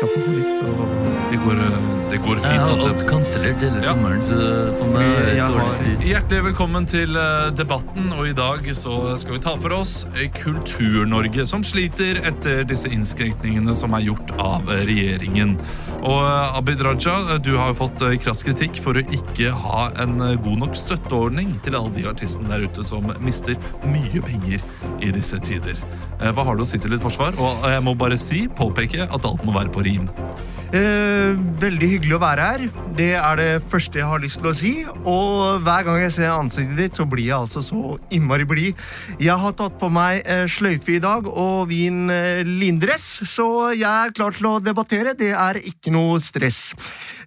kjappe på litt, så
Det går, eh, det går fint. at det-
kansellert hele
Ja.
sommeren, så for meg
Fordi
er det
jeg
dårlig
har-
tid.
Hjertelig velkommen til eh, debatten, og i dag så skal vi ta for oss eh, Kultur-Norge, som sliter etter disse innskrenkningene som er gjort av eh, regjeringen. Og eh, Abid Raja, eh, du har jo fått eh, krass kritikk for å ikke ha en eh, god nok støtteordning til alle de artistene der ute som mister mye penger i disse tider. Eh, Hva har du å si til ditt forsvar? Og eh, jeg må bare si, påpeke, at alt må være på rim.
Eh, Veldig hyggelig å være her. Det er det første jeg har lyst til å si. Og hver gang jeg ser ansiktet ditt, så blir jeg altså så innmari blid. Jeg har tatt på meg eh, sløyfe i dag og hvin eh, lindress, så jeg er klar til å debattere. Det er ikke noe stress.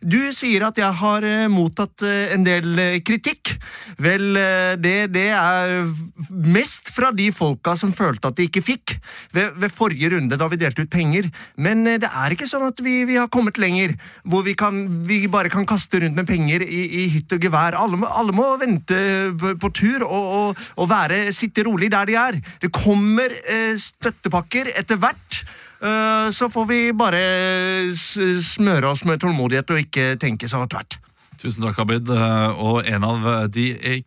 Du sier at jeg har eh, mottatt eh, en del eh, kritikk. Vel, eh, det, det er mest fra de folka som følte at de ikke fikk ved, ved forrige runde da vi delte ut penger. Men eh, det er ikke sånn at vi, vi har kommet lenger, hvor vi, kan, vi bare kan kaste rundt med penger i, i hytt og gevær. Alle må, alle må vente eh, på, på tur og, og, og være, sitte rolig der de er. Det kommer eh, støttepakker etter hvert. Eh, Så får vi bare eh, s- smøre oss med tålmodighet og ikke tenke så hardt hvert.
Tusen takk, Abid. Eh, Og en av de eh,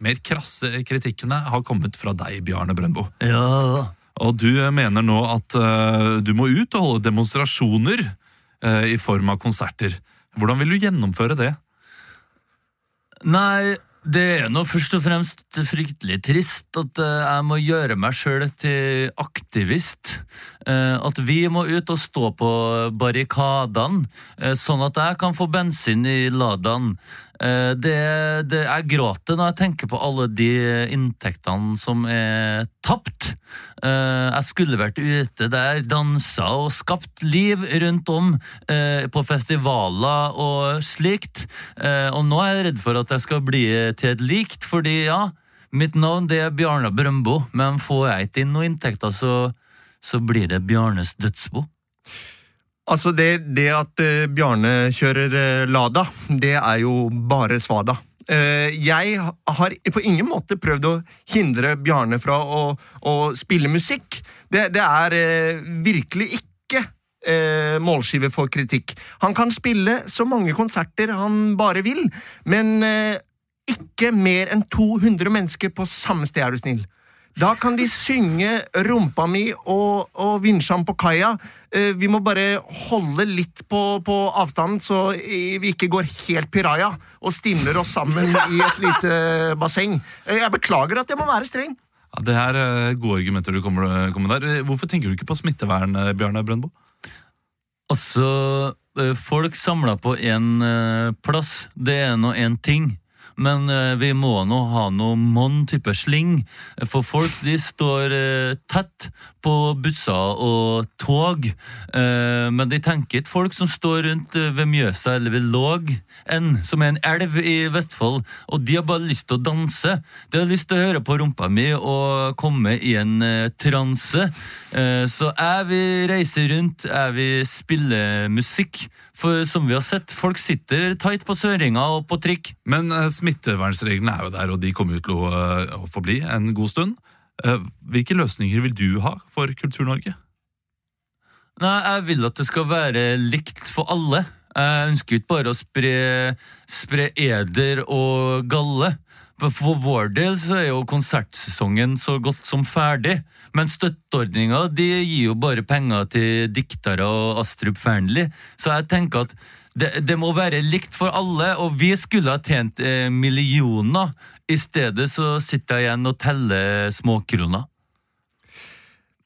mer krasse kritikkene har kommet fra deg, Bjarne Brøndbo. Og du mener nå at eh, du må ut og holde demonstrasjoner eh, i form av konserter. Hvordan vil du gjennomføre det?
Nei, det er nå først og fremst fryktelig trist at eh, jeg må gjøre meg sjøl til aktivist. Eh, At vi må ut og stå på barrikadene, eh, sånn at jeg kan få bensin i ladaen. Eh, Det, det, jeg gråter når jeg tenker på alle de eh, inntektene som er tapt. Eh, Jeg skulle vært ute der, dansa og skapt liv rundt om eh, på festivaler og slikt. Eh, Og nå er jeg redd for at jeg skal bli til et likt, fordi ja, mitt navn det er Bjarne Brøndbo, men får jeg ikke inn noen inntekter, så, så blir det Bjarnes dødsbo.
Altså, det, det at eh, Bjarne kjører eh, Lada, det er jo bare svada. Eh, jeg ha- har på ingen måte prøvd å hindre Bjarne fra å, å spille musikk. Det, det er eh, virkelig ikke eh, målskive for kritikk. Han kan spille så mange konserter han bare vil, men eh, ikke mer enn 200 mennesker på samme sted, er du snill. Da kan de synge 'Rumpa mi' og, og 'Vinsjan på kaia'. Eh, vi må bare holde litt på, på avstanden, så i- vi ikke går helt piraja og stimler oss sammen i et lite basseng. Eh, jeg beklager at jeg må være streng.
Ja, det her er gode argumenter du kommer, kommer der. Eh, Hvorfor tenker du ikke på smittevern, eh, Bjarne Brøndbo?
Altså, eh, folk samla på én plass, det er nå én ting. Men eh, vi må nå ha noe monn type sling, for folk de står eh, tett på busser og tog. Eh, Men de tenker ikke folk som står rundt eh, ved Mjøsa eller ved Låg, enn, som er en elv i Vestfold, og de har bare lyst til å danse. De har lyst til å høre på rumpa mi og komme i en eh, transe. Eh, så jeg vil reise rundt, jeg vil spille musikk. For som vi har sett, folk sitter tight på søringa og på trikk.
Men eh, smittevernreglene er jo der, og de kommer jo til å, eh, å forbli en god stund. Eh, Hvilke løsninger vil du ha for Kultur-Norge?
Nei, jeg vil at det skal være likt for alle. Jeg ønsker ikke bare å spre, spre eder og galle. For vår del så er jo konsertsesongen så godt som ferdig. Men støtteordninga de gir jo bare penger til diktere og Astrup Fearnley. Så jeg tenker at det, det må være likt for alle, og vi skulle ha tjent eh, millioner. I stedet så sitter jeg igjen og teller småkroner.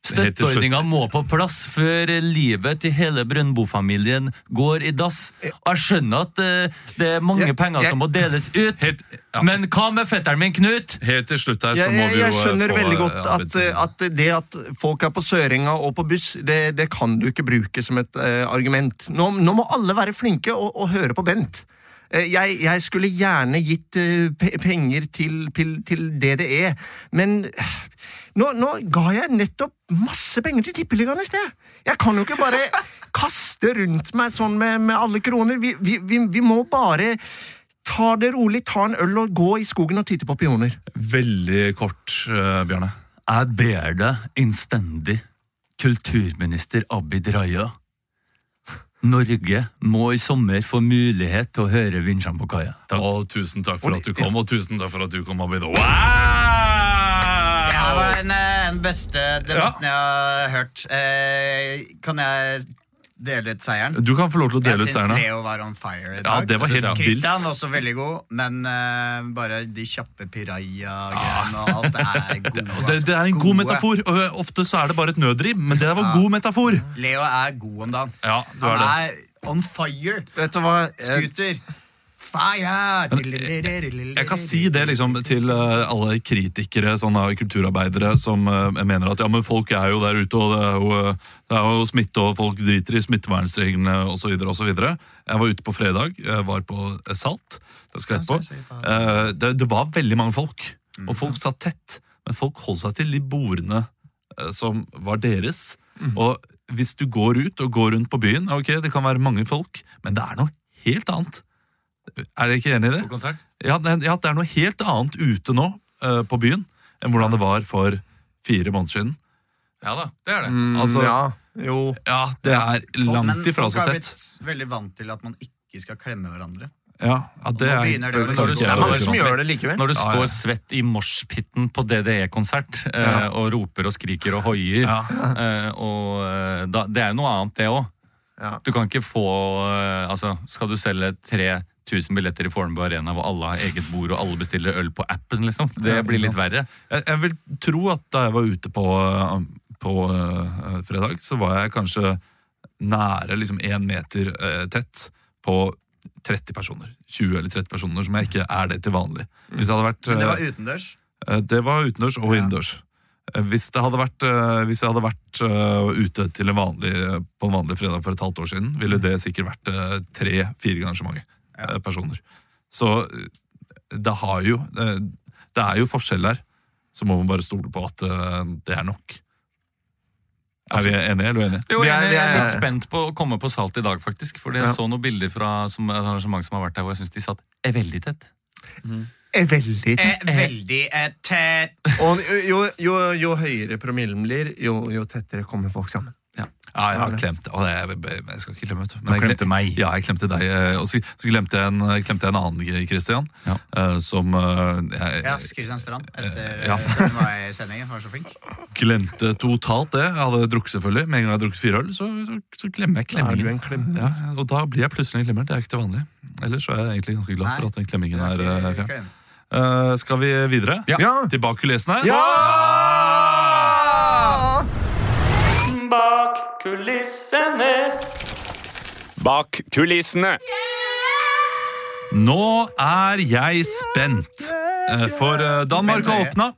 Helt til slutt.
Støtteordninga må på plass før livet til hele Brøndbo-familien går i dass. Og jeg skjønner at eh, det er mange
Jeg-
penger
jeg-
som må deles ut,
Helt- ja.
men hva med fetteren min, Knut?
Helt til slutt her så
Jeg,
må
jeg,
vi jo
jeg
eh,
skjønner
få,
veldig
eh,
godt at,
Abid.
eh, at det at folk er på Sørenga og på buss, det, det kan du ikke bruke som et eh, argument. Nå, nå må alle være flinke og, og høre på Bent. Eh, Jeg, jeg skulle gjerne gitt eh, pe- penger til, til, til det det er, men eh, nå, nå ga jeg nettopp masse penger til Tippeligaen i sted. Jeg kan jo ikke bare kaste rundt meg sånn med, med alle kroner. Vi, vi, vi, vi må bare ta det rolig, ta en øl og gå i skogen og titte på pioner.
Veldig kort, eh, Bjarne.
Jeg ber deg innstendig, kulturminister Abid Raja. Norge må i sommer få mulighet til å høre Vinsjan på kaia. Takk.
Og tusen takk for at du kom, og tusen takk for at du kom, Abid. Wow!
Det her var den, eh, den beste debatten jeg har hørt. Eh, kan jeg dele ut seieren?
Du kan få lov til å dele
Jeg
ut
syns
seierne.
Leo var on fire i dag.
Ja, det var
Jeg synes
helt
Christian
vilt.
også veldig god, men eh, bare de kjappe piraja-greiene og alt det er gode.
Det,
altså.
det er en god
Gode.
metafor. og, eh, Ofte så er det bare et nødrim, men det var
Ja.
god metafor.
Leo er god om dagen.
Ja, du er det.
Han er on fire.
Vet du hva?
Scooter. Fire!
Jeg kan si det liksom til eh, alle kritikere, sånne kulturarbeidere, som eh, mener at ja, men folk er jo der ute, og det er jo, eh, det er jo smitte, og folk driter i smittevernreglene osv. osv. Jeg var ute på fredag, jeg var på eh, Salt. Det skal jeg etterpå. Eh, Det, det var veldig mange folk, og folk satt tett. Men folk holdt seg til de bordene eh, som var deres. Og hvis du går ut og går rundt på byen, ok, det kan være mange folk, men det er noe helt annet. Er dere ikke enig i det?
konsert?
Ja, det, ja, det er noe helt annet ute nå eh, på byen enn hvordan det var for fire måneder siden.
Ja da, det er
Mm.
det.
altså-
ja, jo.
Ja, det er langt ifra så
Folk
tett.
er blitt veldig vant til at man ikke skal klemme hverandre.
Ja, ja, det
Nå
er,
begynner det å bli
kan
dårlig
ikke jeg
Det er mange
stemning.
gjøre.
som gjør det likevel.
Når du
Ja, ja.
står svett i moshpiten på DDE-konsert eh, og roper og skriker og hoier
Ja.
eh, og, eh, da, Det er jo noe annet, det òg.
Ja.
Du kan ikke få eh, altså, Skal du selge 3000 billetter i Fornebu Arena hvor alle har eget bord og alle bestiller øl på appen, liksom? Det
Ja,
blir
ikke
litt
sant.
verre.
Jeg, jeg vil tro at da jeg var ute på, eh, på eh, fredag, så var jeg kanskje nære liksom én meter eh, tett på 30 personer. 20 eller 30 personer, som jeg ikke er det til vanlig. Hvis jeg hadde vært...
Men det
eh,
var utendørs.
Eh, Det var utendørs og
Ja.
innendørs. Eh, Hvis, det hadde vært, eh, hvis jeg hadde vært eh, ute til en vanlig, på en vanlig fredag for et halvt år siden, ville det sikkert vært tre-fire ganger så mange eh, personer. Så eh, det, har jo, eh, det er jo forskjell her. Så må man bare stole på at eh, det er nok. Er vi enige eller uenige?
Jo,
Vi
jeg,
er- vi
jeg er
er-
litt spent på å komme på Salt i dag, faktisk. For jeg
Ja.
så noen bilder fra som, et arrangement som har vært der, hvor jeg syns de satt eh, veldig tett.
Er veldig
Eh, veldig eh, tett.
Og jo, jo, jo høyere promillen blir, jo, jo tettere kommer folk sammen.
Ja, jeg har klemt. Å, jeg, jeg skal ikke klemme, vet du. Men
Du
jeg klem-
glemte meg.
Ja, jeg klemte deg. eh, Og så, så glemte, jeg en, glemte jeg en annen, Christian,
Ja.
eh, som eh, jeg,
Ja, Kristian Strand etter
Eh, ja.
eh, 17. mai-sendingen. Var så flink.
Glemte totalt det. Jeg hadde drukket selvfølgelig. Med en gang jeg hadde drukket fire øl, så, så, så glemmer jeg
Da er du en
klemmingen.
klem.
Ja, og da blir jeg plutselig en klemmer. Det er ikke til vanlig. Ellers så er jeg egentlig ganske glad for
Nei.
at den klemmingen
Det
er
er
eh,
ikke-
fjern.
klem.
Eh, skal vi videre?
Ja.
Ja!
Til bakulissene?
ja!
Bak kulissene.
Bak kulissene.
Nå er jeg spent, eh, for eh, Danmark har åpna.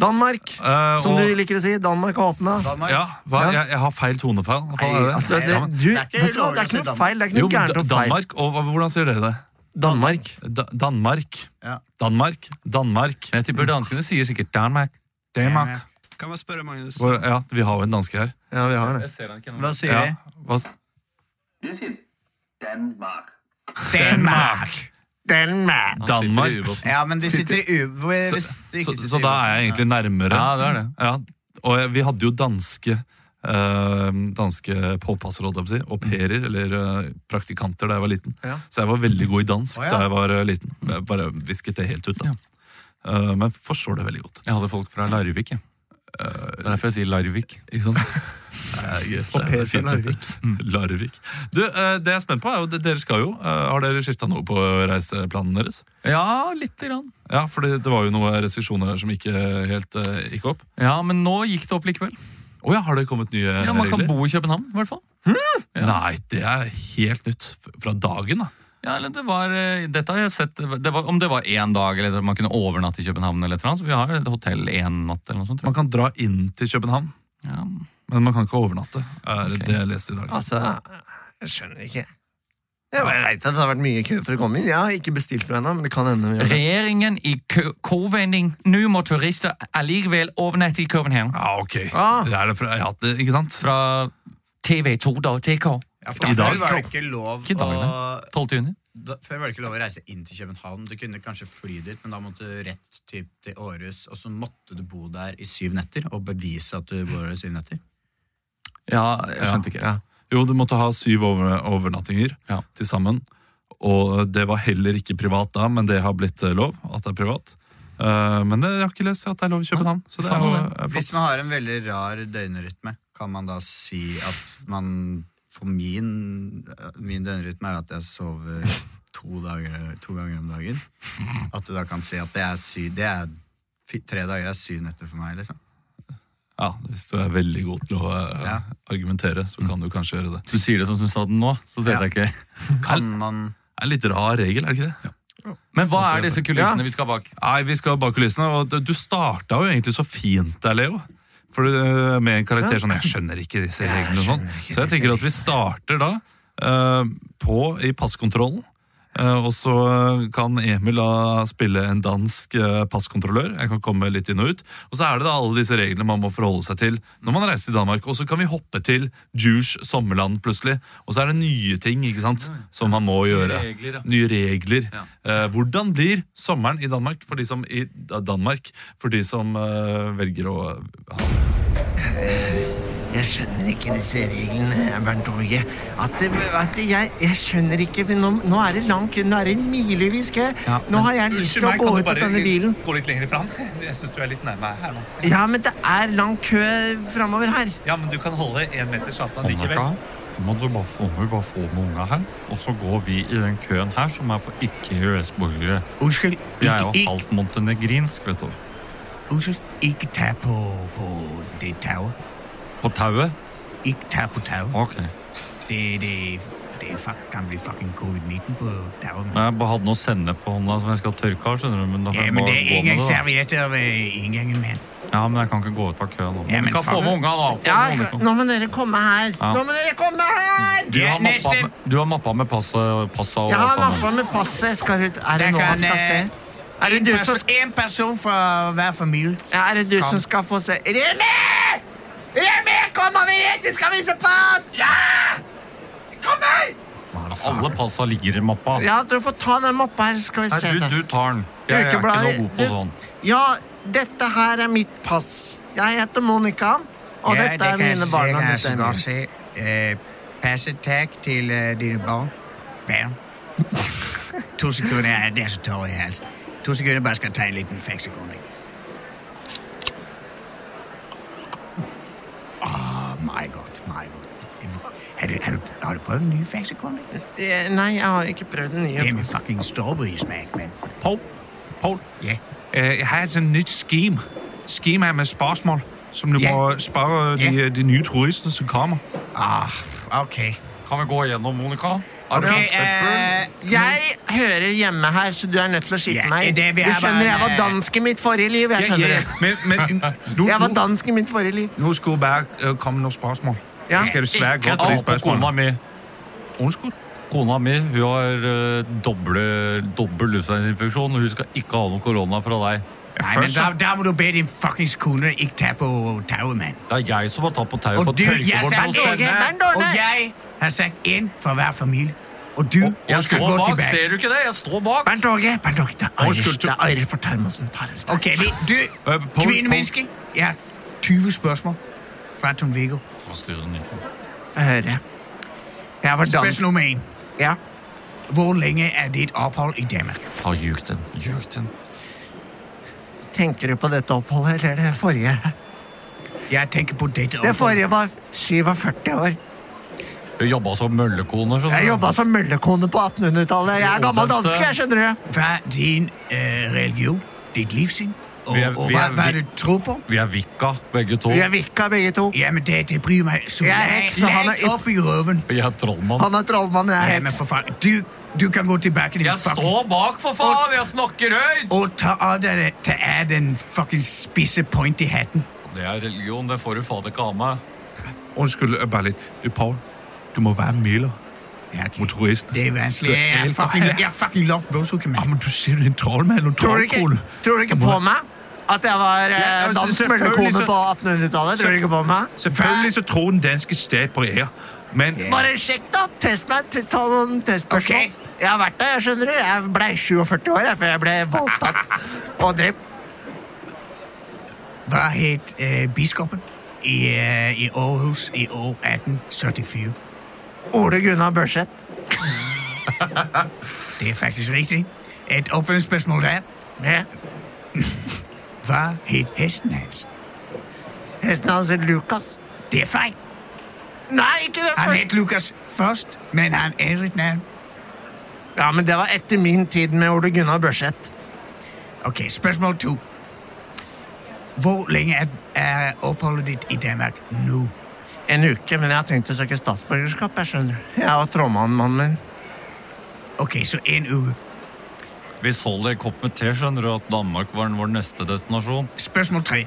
Danmark,
eh,
som
og-
du liker å si. Danmark har åpna.
Danmark.
Ja, hva?
Ja.
Jeg, jeg har feil tonefall. Hva er det?
Altså, det,
Nei,
du,
det er
vet
ikke
du hva,
lovlig
det er
å si
ikke noe
Danmark.
feil. Det er
jo,
ikke noe
men
gærent
Da-
og feil.
Danmark, og hva- Hvordan sier dere det?
Danmark.
Da, Danmark.
Ja.
Danmark. Danmark.
Men jeg tipper danskene sier sikkert Danmark.
Danmark.
Kan man spørre, Magnus?
Hvor, ja, vi har jo en danske her.
Ja, vi har det.
Jeg ser han ikke nå.
Hva sier
Ja.
vi?
Hva, s-
Danmark!
Danmark.
Han sitter i
Danmark.
ubåten.
Ja, men de sitter i u... hvor-
Så,
hvis de ikke
så,
sitter
så
i
da
ubåten,
er jeg
ja.
egentlig nærmere.
Ja, det er det.
Ja, og jeg- vi hadde jo danske eh, danske påpasserråd, jeg, au pairer, eller eh, praktikanter, da jeg var liten.
Ja.
Så jeg var veldig god i dansk
Å, ja.
da jeg var eh, liten. Jeg bare visket det helt ut, da. eh, men forstår det veldig godt.
Jeg hadde folk fra Larvik, jeg. Det er derfor jeg sier Larvik.
Ikke sant? Det er greit.
Og Per
Det er fint,
fra Larvik.
dette. Mm, Larvik. Du, eh, det jeg er spent på, er jo det dere skal jo. Eh, Har dere skifta noe på reiseplanen deres?
Ja, lite grann.
Ja, for det var jo noen restriksjoner her som ikke helt eh, gikk opp.
Ja, men nå gikk det opp likevel.
Å ja, har det kommet nye
Ja, Man kan
regler?
bo i København, i hvert fall.
Nei, det er helt nytt fra dagen, da.
Ja, eller det var, eh, dette har jeg sett, det var, Om det var én dag, eller man kunne overnatte i København. eller et eller annet, så Vi har et hotell én natt. eller noe sånt, tror
Man
jeg.
kan dra inn til København,
Ja.
men man kan ikke overnatte. er
Ok. Ah.
det jeg leste i dag.
Altså, jeg skjønner ikke. Jeg veit at det har vært mye kø for å komme inn. Jeg har ikke bestilt noe ennå, men det kan hende. vi gjør det.
Regjeringen i kø- kovending. Nå må turister allikevel overnatte i København.
Ja, ok.
Ah.
Det er det fra, ja, det, ikke sant?
Fra tv2.tk.
Ja, for
I dag-
Før var det ikke lov
Ikke i dag,
å,
nei. 12. juni.
da, Før var det ikke lov å reise inn til København. Du kunne kanskje fly dit, men da måtte du rett typ, til Århus, og så måtte du bo der i syv netter og bevise at du bor der i syv netter.
Ja, jeg skjønte ikke.
Ja.
Jo, du måtte ha syv over, overnattinger
Ja.
til sammen. Og det var heller ikke privat da, men det har blitt eh, lov at det er privat. Eh, men det, jeg har ikke lest at det er lov i København. Så det er jo
Samme
eh,
Hvis
flott.
man har en veldig rar døgnrytme, kan man da si at man For min, min døgnrytme er at jeg sover to, dager, to ganger om dagen. At du da kan si at det er syv det er, fi- Tre dager er syv netter for meg, liksom.
Ja, hvis du er veldig god til å eh,
Ja.
argumentere, så kan du kanskje gjøre det.
Mm. Du sier det som du sa det nå. så tenkte jeg ikke.
Kan man
Det er en litt rar regel, er det ikke det?
Men hva er disse kulissene
Ja.
vi skal bak?
Nei, vi skal bak kulissene, og du- du starta jo egentlig så fint der, Leo. For du, med en karakter sånn, jeg skjønner ikke disse reglene og sånn. Så jeg tenker at vi starter da eh, på, i passkontrollen. Eh, og så kan Emil da spille en dansk eh, passkontrollør. Jeg kan komme litt inn og ut. Og så er det da alle disse reglene man må forholde seg til når man reiser til Danmark. Og så kan vi hoppe til Juice sommerland plutselig. Og så er det nye ting ikke sant, som man må gjøre
regler, ja.
nye regler.
Ja.
Eh, hvordan blir sommeren i Danmark for de som, i Da- Danmark, for de som eh, velger å ha
Jeg skjønner ikke disse reglene, Bernt Åge. At, det- vet du, jeg, jeg skjønner ikke, for nå, nå er det lang kø. Nå er det milevis kø. Nå har jeg lyst til å gå ut av denne bilen.
gå litt lenger fram? Jeg syns du er litt nærmere her nå.
Ja, men det er lang kø framover her.
Ja, men du kan holde én meters avstand likevel.
Må du bare få med, bare få med unga her, og så går vi i den køen her som er for ikke-EØS-borgere.
Unnskyld,
Jeg er jo halvt montenegrinsk, vet du.
unnskyld, ikke ta på, på det tauet.
På tauet?
Ikke ta på tauet.
Ok.
Det, det, det er fuck, kan bli fucking covid-19 på tauet.
Men Jeg bare hadde noe sennep på hånda som jeg skal tørke av, skjønner du. Men da får
Ja,
jeg
men
bare
det er
gå med det,
engangsservietter ved inngangen, mann.
da. Ja, men jeg kan ikke gå ut av køen nå.
Ja, men
du kan få
faen.
med unga, da. Få
Ja,
med unga, sånn.
nå må dere komme her.
Ja.
Nå må dere komme her!
Du har, mappa
neste.
med, du har mappa med passa, passa og
Jeg har
alt sammen.
mappa med passet. Skal du, er det
Der
nå han
kan,
skal se?
eh,
Er det
En
du som,
perso- en person fra hver familie.
ja, er det du som skal få se? Remi! Remi, kom over hit! Du skal vise pass! Ja! Kom her!
Alle passa ligger i mappa.
Ja, du får ta den mappa her, så skal vi
Nei,
se
du,
det.
du tar den. Jeg er ikke så
Ukebladet-
god på
du-
sånn.
Ja, dette her er mitt pass. Jeg heter Monica, og
Ja,
dette er
kan jeg
mine
se,
barn. og
kan jeg
dette er
så godt
min.
se. Eh, Passet takk til eh, dine barn. Barn. to sekunder, jeg- det er så tørr i halsen. To sekunder, bare skal ta en liten faksekunding. Åh, meget godt, meget godt. Har du, har du, har du prøvet den nye faksekunding?
Eh, Nei, jeg har ikke prøvd den
Det er
nye.
med fucking strawberry-smak, mand.
Paul, Paul,
Ja.
eh, jeg har et sånt nytt scheme. Schema med spørsmål som du
Ja.
må spørre de, de nye turistene som kommer.
Ah, okay.
Kan vi gå gjennom, Monica? Er du
Okay,
anspent på den?
eh,
Jeg hører hjemme her, så du er nødt til å
Ja,
skippe meg.
det vi
Du
er
skjønner,
bare-
jeg var dansk i mitt forrige liv. Jeg skjønner det.
Men, men nu,
Jeg var
nu,
dansk i mitt forrige liv.
nu skulle bare eh, komme noen spørsmål.
Ja.
Jeg skal desværre gå
Ikke
til
ta
de
på kona
spørsmålene.
mi.
Unnskyld?
Kona mi hun har eh, doble, dobbel luftveisinfeksjon, og hun skal ikke ha noe korona fra deg.
Nej, men
Først så-
der, der må du bede din fucking kone ikke tage på taget, mand.
Det er jeg som har tatt på tauet
Og
for å
du,
tørke
jeg
bort
sa
noe
ikke-
sennep.
Og jeg har sagt en for hver familie. Og du
Jeg
skal
står
gå
bak,
tilbage.
ser du ikke det? Jeg står bak.
Bernt Åge,
Bernt Åge, der er
Irish,
Irish.
det er Irish på Termosen. tar det.
Okay, vi, du,
Øh, Poul,
kvindemenneske, jeg har 20 spørgsmål fra Tom Viggo.
Fra Studio 19.
Få høre. Jeg var dansk.
Spørgsmål nummer en.
Ja.
Hvor lenge er dit ophold i Danmark?
Ta Ljug den. Ljug den.
tenker du på dette oppholdet eller det forrige?
Jeg tenker på dette
Det
oppholdet.
forrige var 47 år.
Hun jobba som møllekone. skjønner
Jeg
du.
jobba som møllekone på 1800-tallet. Jeg er gammel
Odense.
danske, jeg skjønner det.
Hva er din eh, religion? Ditt livssyn? Og,
Vi er-
og
vi
hva,
er-
hva
vi-
du tror på?
Vi er vikka, begge to.
Vi er vikka begge to.
Ja, men det, det bryr meg så
Jeg er heks, og han er
langt opp i røven.
Jeg er trollmann.
Han er trollmann, jeg
Ja,
er
men
heks.
for faen, du, du kan gå tilbake til
Jeg står bak, for faen! Jeg snakker høyt!
og ta av deg det- ta av den fucking spisse point i hatten.
Det er religion, det får du faen ikke av meg.
Undskyld, øh, bare lidt. Øh, Paul, du må være melder
Ja, okay.
mod turisten.
Det er vanskelig. Jeg er
Helt for
fucking,
helvete.
jeg er fucking lovt blodsukker,
Ah,
mand.
men du er simpelthen en troldmand og en
Tror du ikke,
troldkone.
tror du ikke på meg? At jeg var eh,
Ja, altså,
dansk
selvfølgelig
møllekone
så-
på 1800-tallet? Tror du ikke på meg?
Selvfølgelig så tror den danske stat på ære, men
Bare sjekk, da. Test meg. T- Ta noen testspørsmål.
Ok.
Jeg har vært der, jeg skjønner det. Jeg ble 47 år jeg, før jeg ble voldtatt og drept.
Hva het øh, biskoppen i, øh, i Aarhus i år 1844?
Ole Gunnar Børseth.
Det er faktisk rigtigt. Et opfølgningsspørgsmål der.
Ja.
Hva het hesten hans?
Hesten hans het Lukas.
Det er fejl.
Nei, ikke den
Han
første.
het Lukas først, men han ændret navn.
Ja, men Det var etter min tid med Ole Gunnar Børseth.
Okay, spørgsmål to. Hvor længe er, er opholdet eh, dit i Danmark nu?
En uke, men jeg har tenkt å søke statsborgerskap. Jeg skjønner. Jeg var trollmannen, mannen min.
Okay, så en uge.
Vi så det i kopp med te, skjønner du, at Danmark var vår neste destinasjon.
Spørgsmål tre.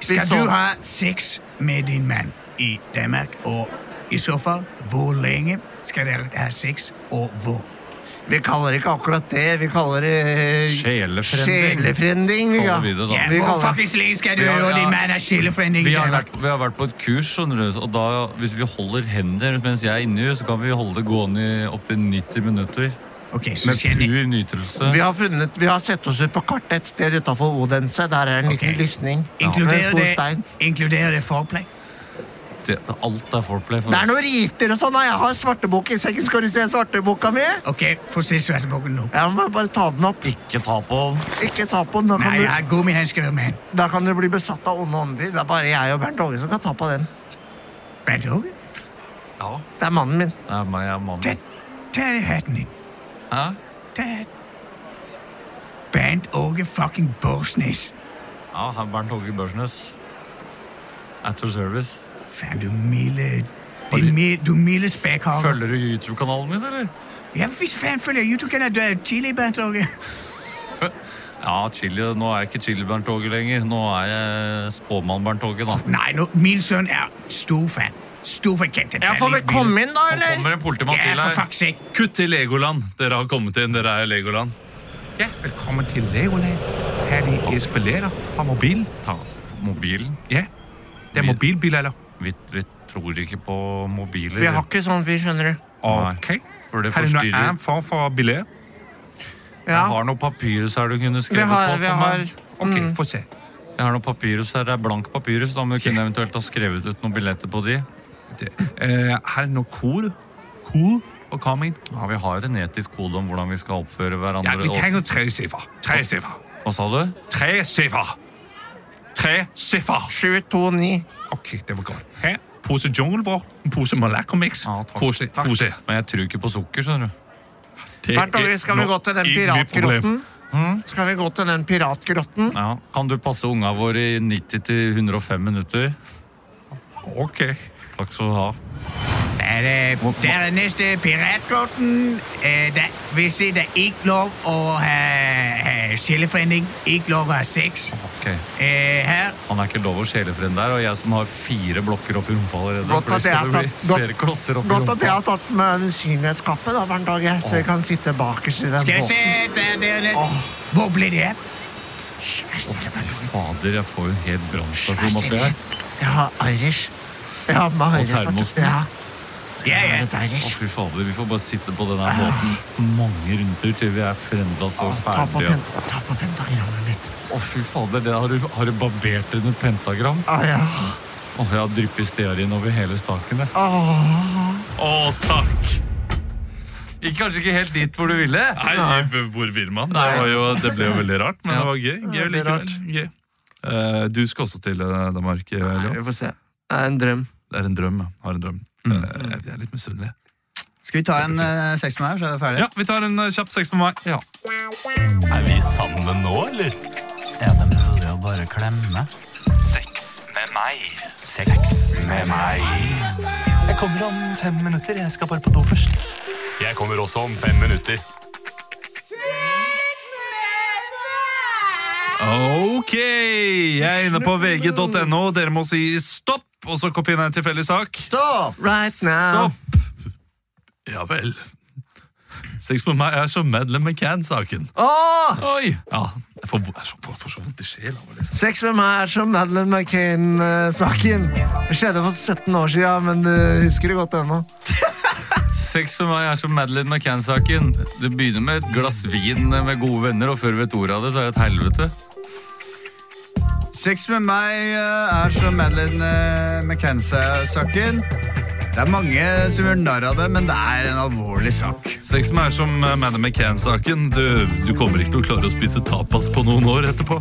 Skal
så-
du ha sex med din mand i Danmark, og i så fald, hvor længe skal dere have sex, og hvor?
Vi kaller det ikke akkurat det. Vi kaller det eh,
Sjelefrending.
sjelefrending. vi, ja.
Kaller vi det da.
Ja,
Vi
hvor
kaller det.
fucking længe skal du
Vi har-
øve
ja.
din mand af sjælefrending i
Vi har,
Danmark?
vært, vi har vært på et kurs, skjønner du, og da, hvis vi holder hender mens jeg er inni, så kan vi holde det gående i opptil 90 minutter.
Okay, så
Med
skal jeg...
pur nytelse.
Vi har, funnet, vi har sett oss ut på kartet et sted utenfor Odense. Der er en liten
Ok.
lysning. med en
Inkluderer
stor
det,
stein.
inkluderer det foreplay?
Det, alt er foreplay. For
Det er
oss.
noen riter og sånn. da. Jeg har svartebok i sengen. Skal du se svarteboka mi?
Okay, få se svarteboken nu.
Jeg må bare ta den opp.
Ikke ta på den.
Ikke ta på den. Da
Nej,
kan,
jeg har Nou gummihandsker, mand.
du, da kan du bli besatt av onde ånder. Det er bare jeg og Bernt Åge som kan ta på den.
Hvad er det? okay?
Det er mannen min.
Det er meg, jeg er
Tag,
mannen.
tag hatten ind.
Hæ?
Tag Band Åke fucking Borsnes.
Ja, her er Bernt Håge Børsnes. At your service.
Fan, du milde... Det milde, du milde spækhopper.
Følger du YouTube-kanalen min, eller?
Ja, hvis fan følger YouTube-kanalen, du er chili Bernt Åke.
Ja, chili, nå er jeg ikke Chili-Bernt Åge lenger. Nå er jeg spåmann-Bernt Åge, da.
Nej, nu, min søn er stor fan. Stor fan. Kan
Jeg får vel komme inn, da,
Nå
eller?
kommer en politimann
Ja,
til
for
her.
fuck's sake.
Kutt til Legoland. Dere har kommet inn. Dere er i Legoland.
ja, velkommen til Legoland. Her er de espalader fra mobilen.
Ta mobilen.
Ja, det er
Vi-
mobilbilader.
Vi, vi tror ikke på mobiler.
For jeg har ikke sånn fyr, skjønner du.
Nei.
Okay.
For det
Har du noen
forstyrrer.
annen form for billeder?
Ja,
Jeg har noen papyrus her du kunne
vi
skrevet
har,
på
vi
for
har
meg.
Ok, få se.
Jeg har noen papyrus her. Det er blank papyrus. Da må du kunne eventuelt ha skrevet ut noen billetter på de.
Det. Øh, har du noen kode? Kode at komme ind?
Ja, vi har en etisk kode om hvordan vi skal oppføre
Ja,
hverandre.
vi trenger tre siffer. Tre siffer.
Og, hva sa du?
Tre siffer. Tre siffer.
729.
Ok, det var godt. Her, pose junglevåg, en pose Malaco Mix.
Ja, takk.
pose,
Takk.
pose.
Men jeg tror ikke på sukker, skjønner du.
Det
Bernt Åge, skal vi
nå
gå til den
ikke mitt
piratgrotten?
problem.
Mm, Skal vi gå til den piratgrotten?
Ja. Kan du passe unga våre i 90 til 105 minutter?
Ok.
Takk skal du ha.
Der er, der er næste piratkorten. Øh, der, hvis det er ikke lov at have, have sjæleforening, ikke lov at have sex.
Ok.
Øh, her,
Han er ikke lov å skjele frem der, og jeg som har fire blokker opp i rumpa allerede.
Godt
for
at
det skal
jeg har
jo bli
tatt- godt-
flere klosser opp i
Godt at jeg
rumpa.
har tatt med en synlighetskappe da, hver dag, jeg, så jeg kan sitte bakerst i den
skal jeg se,
båten.
der, der er næste. Hvor blev det af?
Fader, jeg får jo en hel brannstasjon oppi her.
Jeg har Irish. Jeg har med Irish.
termosen.
Ja,
Ja,
jeg
ja.
har et
Å,
Irish.
fy fader, vi får bare sitte på denne båten mange runder til vi er frenda så
Ta på,
ferdige.
pen ta på pentagrammet mitt.
Å, fy fader, det har du, har du barbert under pentagram?
Å, ja.
Å, jeg har
Ah.
dryppet stearin over hele staken, jeg.
Åh.
Å, takk!
Ikke, kanskje ikke helt dit hvor du ville.
Nei, hvor vil man? Det, var jo, det ble jo veldig rart, men det var gøy. Gøy
veldig
likevel. Gøy. Eh, du skal også til eh, Danmark, eh, Leon.
Vi får se. Det er en drøm. Mm.
Det er en drøm. ja. Har en drøm. Eh, jeg er litt misunnelig.
Skal vi ta en uh, seks med her, så er vi ferdige?
Ja, vi tar en eh, kjapp seks på meg.
Er vi sammen nå, eller?
Er det mulig å bare klemme?
Sex med meg. Sex med meg.
Jeg kommer om fem minutter. Jeg skal bare på do først.
Jeg kommer også om fem minutter.
Ok, jeg er inne på vg.no. Dere må si stopp, og så finne en tilfeldig sak.
Stopp!
Right now.
Stopp! Ja vel. Sex på meg er som Madeleine McCann-saken.
Åh!
Oi! Ja, jeg får, jeg får, får så vondt i sjela. av å lese.
Sex med meg er som Madeleine McCain-saken. Det skjedde for 17 år siden, men du husker det godt ennå.
Sex for meg er som Madeleine McCann-saken. Det begynner med et glass vin med gode venner, og før du vet ordet av det, så er det et helvete.
Sex med meg eh, er som Madeleine eh, McKenzie-saken. Det er mange som gjør narr av det, men det er en alvorlig sak.
Sex med meg er som eh, Madeleine McCann-saken. Du, du kommer ikke til å klare å spise tapas på noen år etterpå.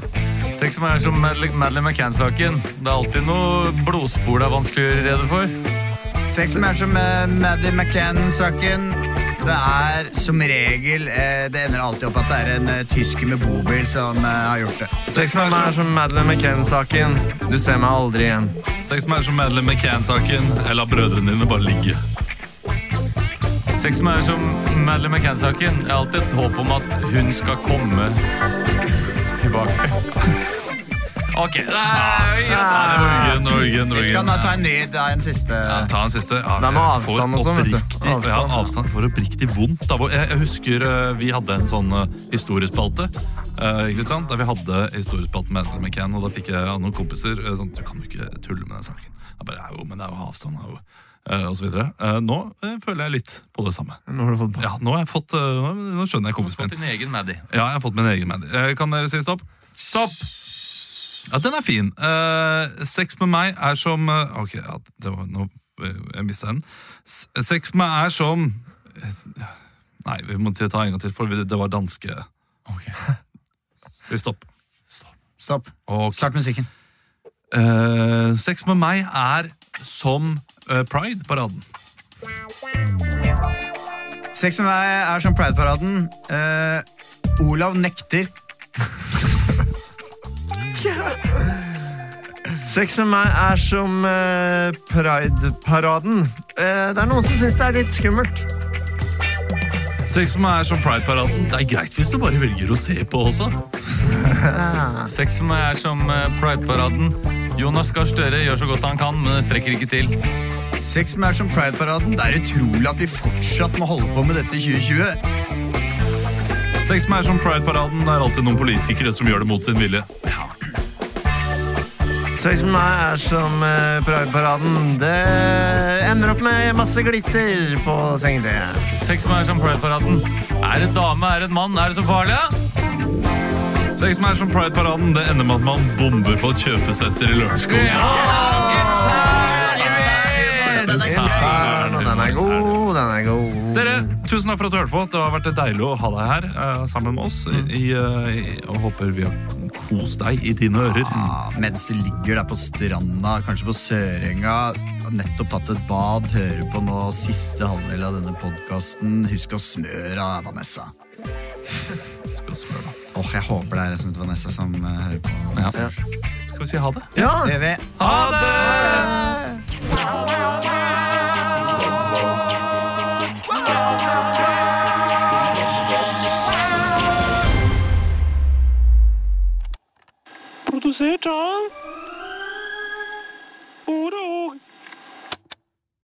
Sex for meg er som Madele- Madeleine McCann-saken. Det er alltid noe blodspor det er vanskelig å gjøre rede for.
Sex med meg er som eh, Maddie McCann-saken. Det er som regel eh, Det ender alltid opp at det er en eh, tysker med bobil som eh, har gjort det.
Sex med meg er som Madeleine McCain-saken. Du ser meg aldri igjen.
Sex med meg er som Madeleine McCann-saken. Jeg lar brødrene dine bare ligge.
Sex for meg er som Madeleine McCann-saken. Jeg har alltid et håp om at hun skal komme tilbake. Ok. Nei,
Ah, Ja, det var uggen, det var uggen, det var
Vi kan
uggen.
da ta en ny, da en siste.
Ja, ta en siste. Ja,
Det er med
jeg får
avstand og sånn, vet du.
oppriktig-
Avstand.
Ja, avstand for oppriktig vondt. Da. Jeg, jeg husker eh, vi hadde en sånn eh, historiespalte. eh, ikke sant? Der vi hadde historiespalten med Edmund McCann, og da fikk jeg av noen kompiser eh, sånn, Du kan jo ikke tulle med den saken. Jeg bare, jo, men det er jo avstand, det er jo, eh, og så videre. Eh, nå eh, føler jeg litt på det samme.
Nå har du fått
Ja, nå, har jeg fått, eh, nå, nå skjønner jeg kompisen min.
Fått din egen Maddie.
Ja, jeg har fått min egen Mandy. Eh, Kan dere si stopp? Stopp! Ja, den er fin. Eh, sex med meg er som eh, Ok, ja, det var nå eh, Jeg mista den. S- Sex med meg er som eh, Nei, vi må ta en gang til, for det var danske. Ok. Vi stopp.
Stopp.
Ok.
Start musikken.
Eh, sex med meg er som eh, Pride-paraden.
Sex med meg er som Pride-paraden. Eh, Olav nekter.
Sex med meg er som eh, Pride-paraden. Eh, det er noen som syns det er litt skummelt.
Sex med meg er som Pride-paraden. Det er greit hvis du bare velger å se på også.
Sex for meg er som eh, Pride-paraden. Jonas Gahr Støre gjør så godt han kan, men det strekker ikke til.
Sex med meg er som Pride-paraden. Det er utrolig at vi fortsatt må holde på med dette i 2020.
Sex med meg er som Pride-paraden. Det er alltid noen politikere som gjør det mot sin vilje.
Sex med meg er som eh, Pride-paraden. Det ender opp med masse glitter på sengetøyet.
Sex for meg er som Pride-paraden. Er det dame, er det en mann? Er det så farlig? da?
Sex med meg er som Pride-paraden. Det ender med at man bomber på et kjøpesenter i Lørenskog.
Intern, og den er god, den er god.
Dere, tusen takk for at du hørte på. Det har vært deilig å ha deg her eh, sammen med oss. I, eh, i, og håper vi har kost deg i dine ører.
Ah, mens du ligger der på stranda, kanskje på Sørenga, har nettopp tatt et bad, hører på nå siste halvdel av denne podkasten. Husk å smøre av Vanessa. Åh, Jeg håper det er en sånn Vanessa som eh, hører på.
Skal vi si ha det?
Ja,
Det gjør vi.
Ha det!
Produsert av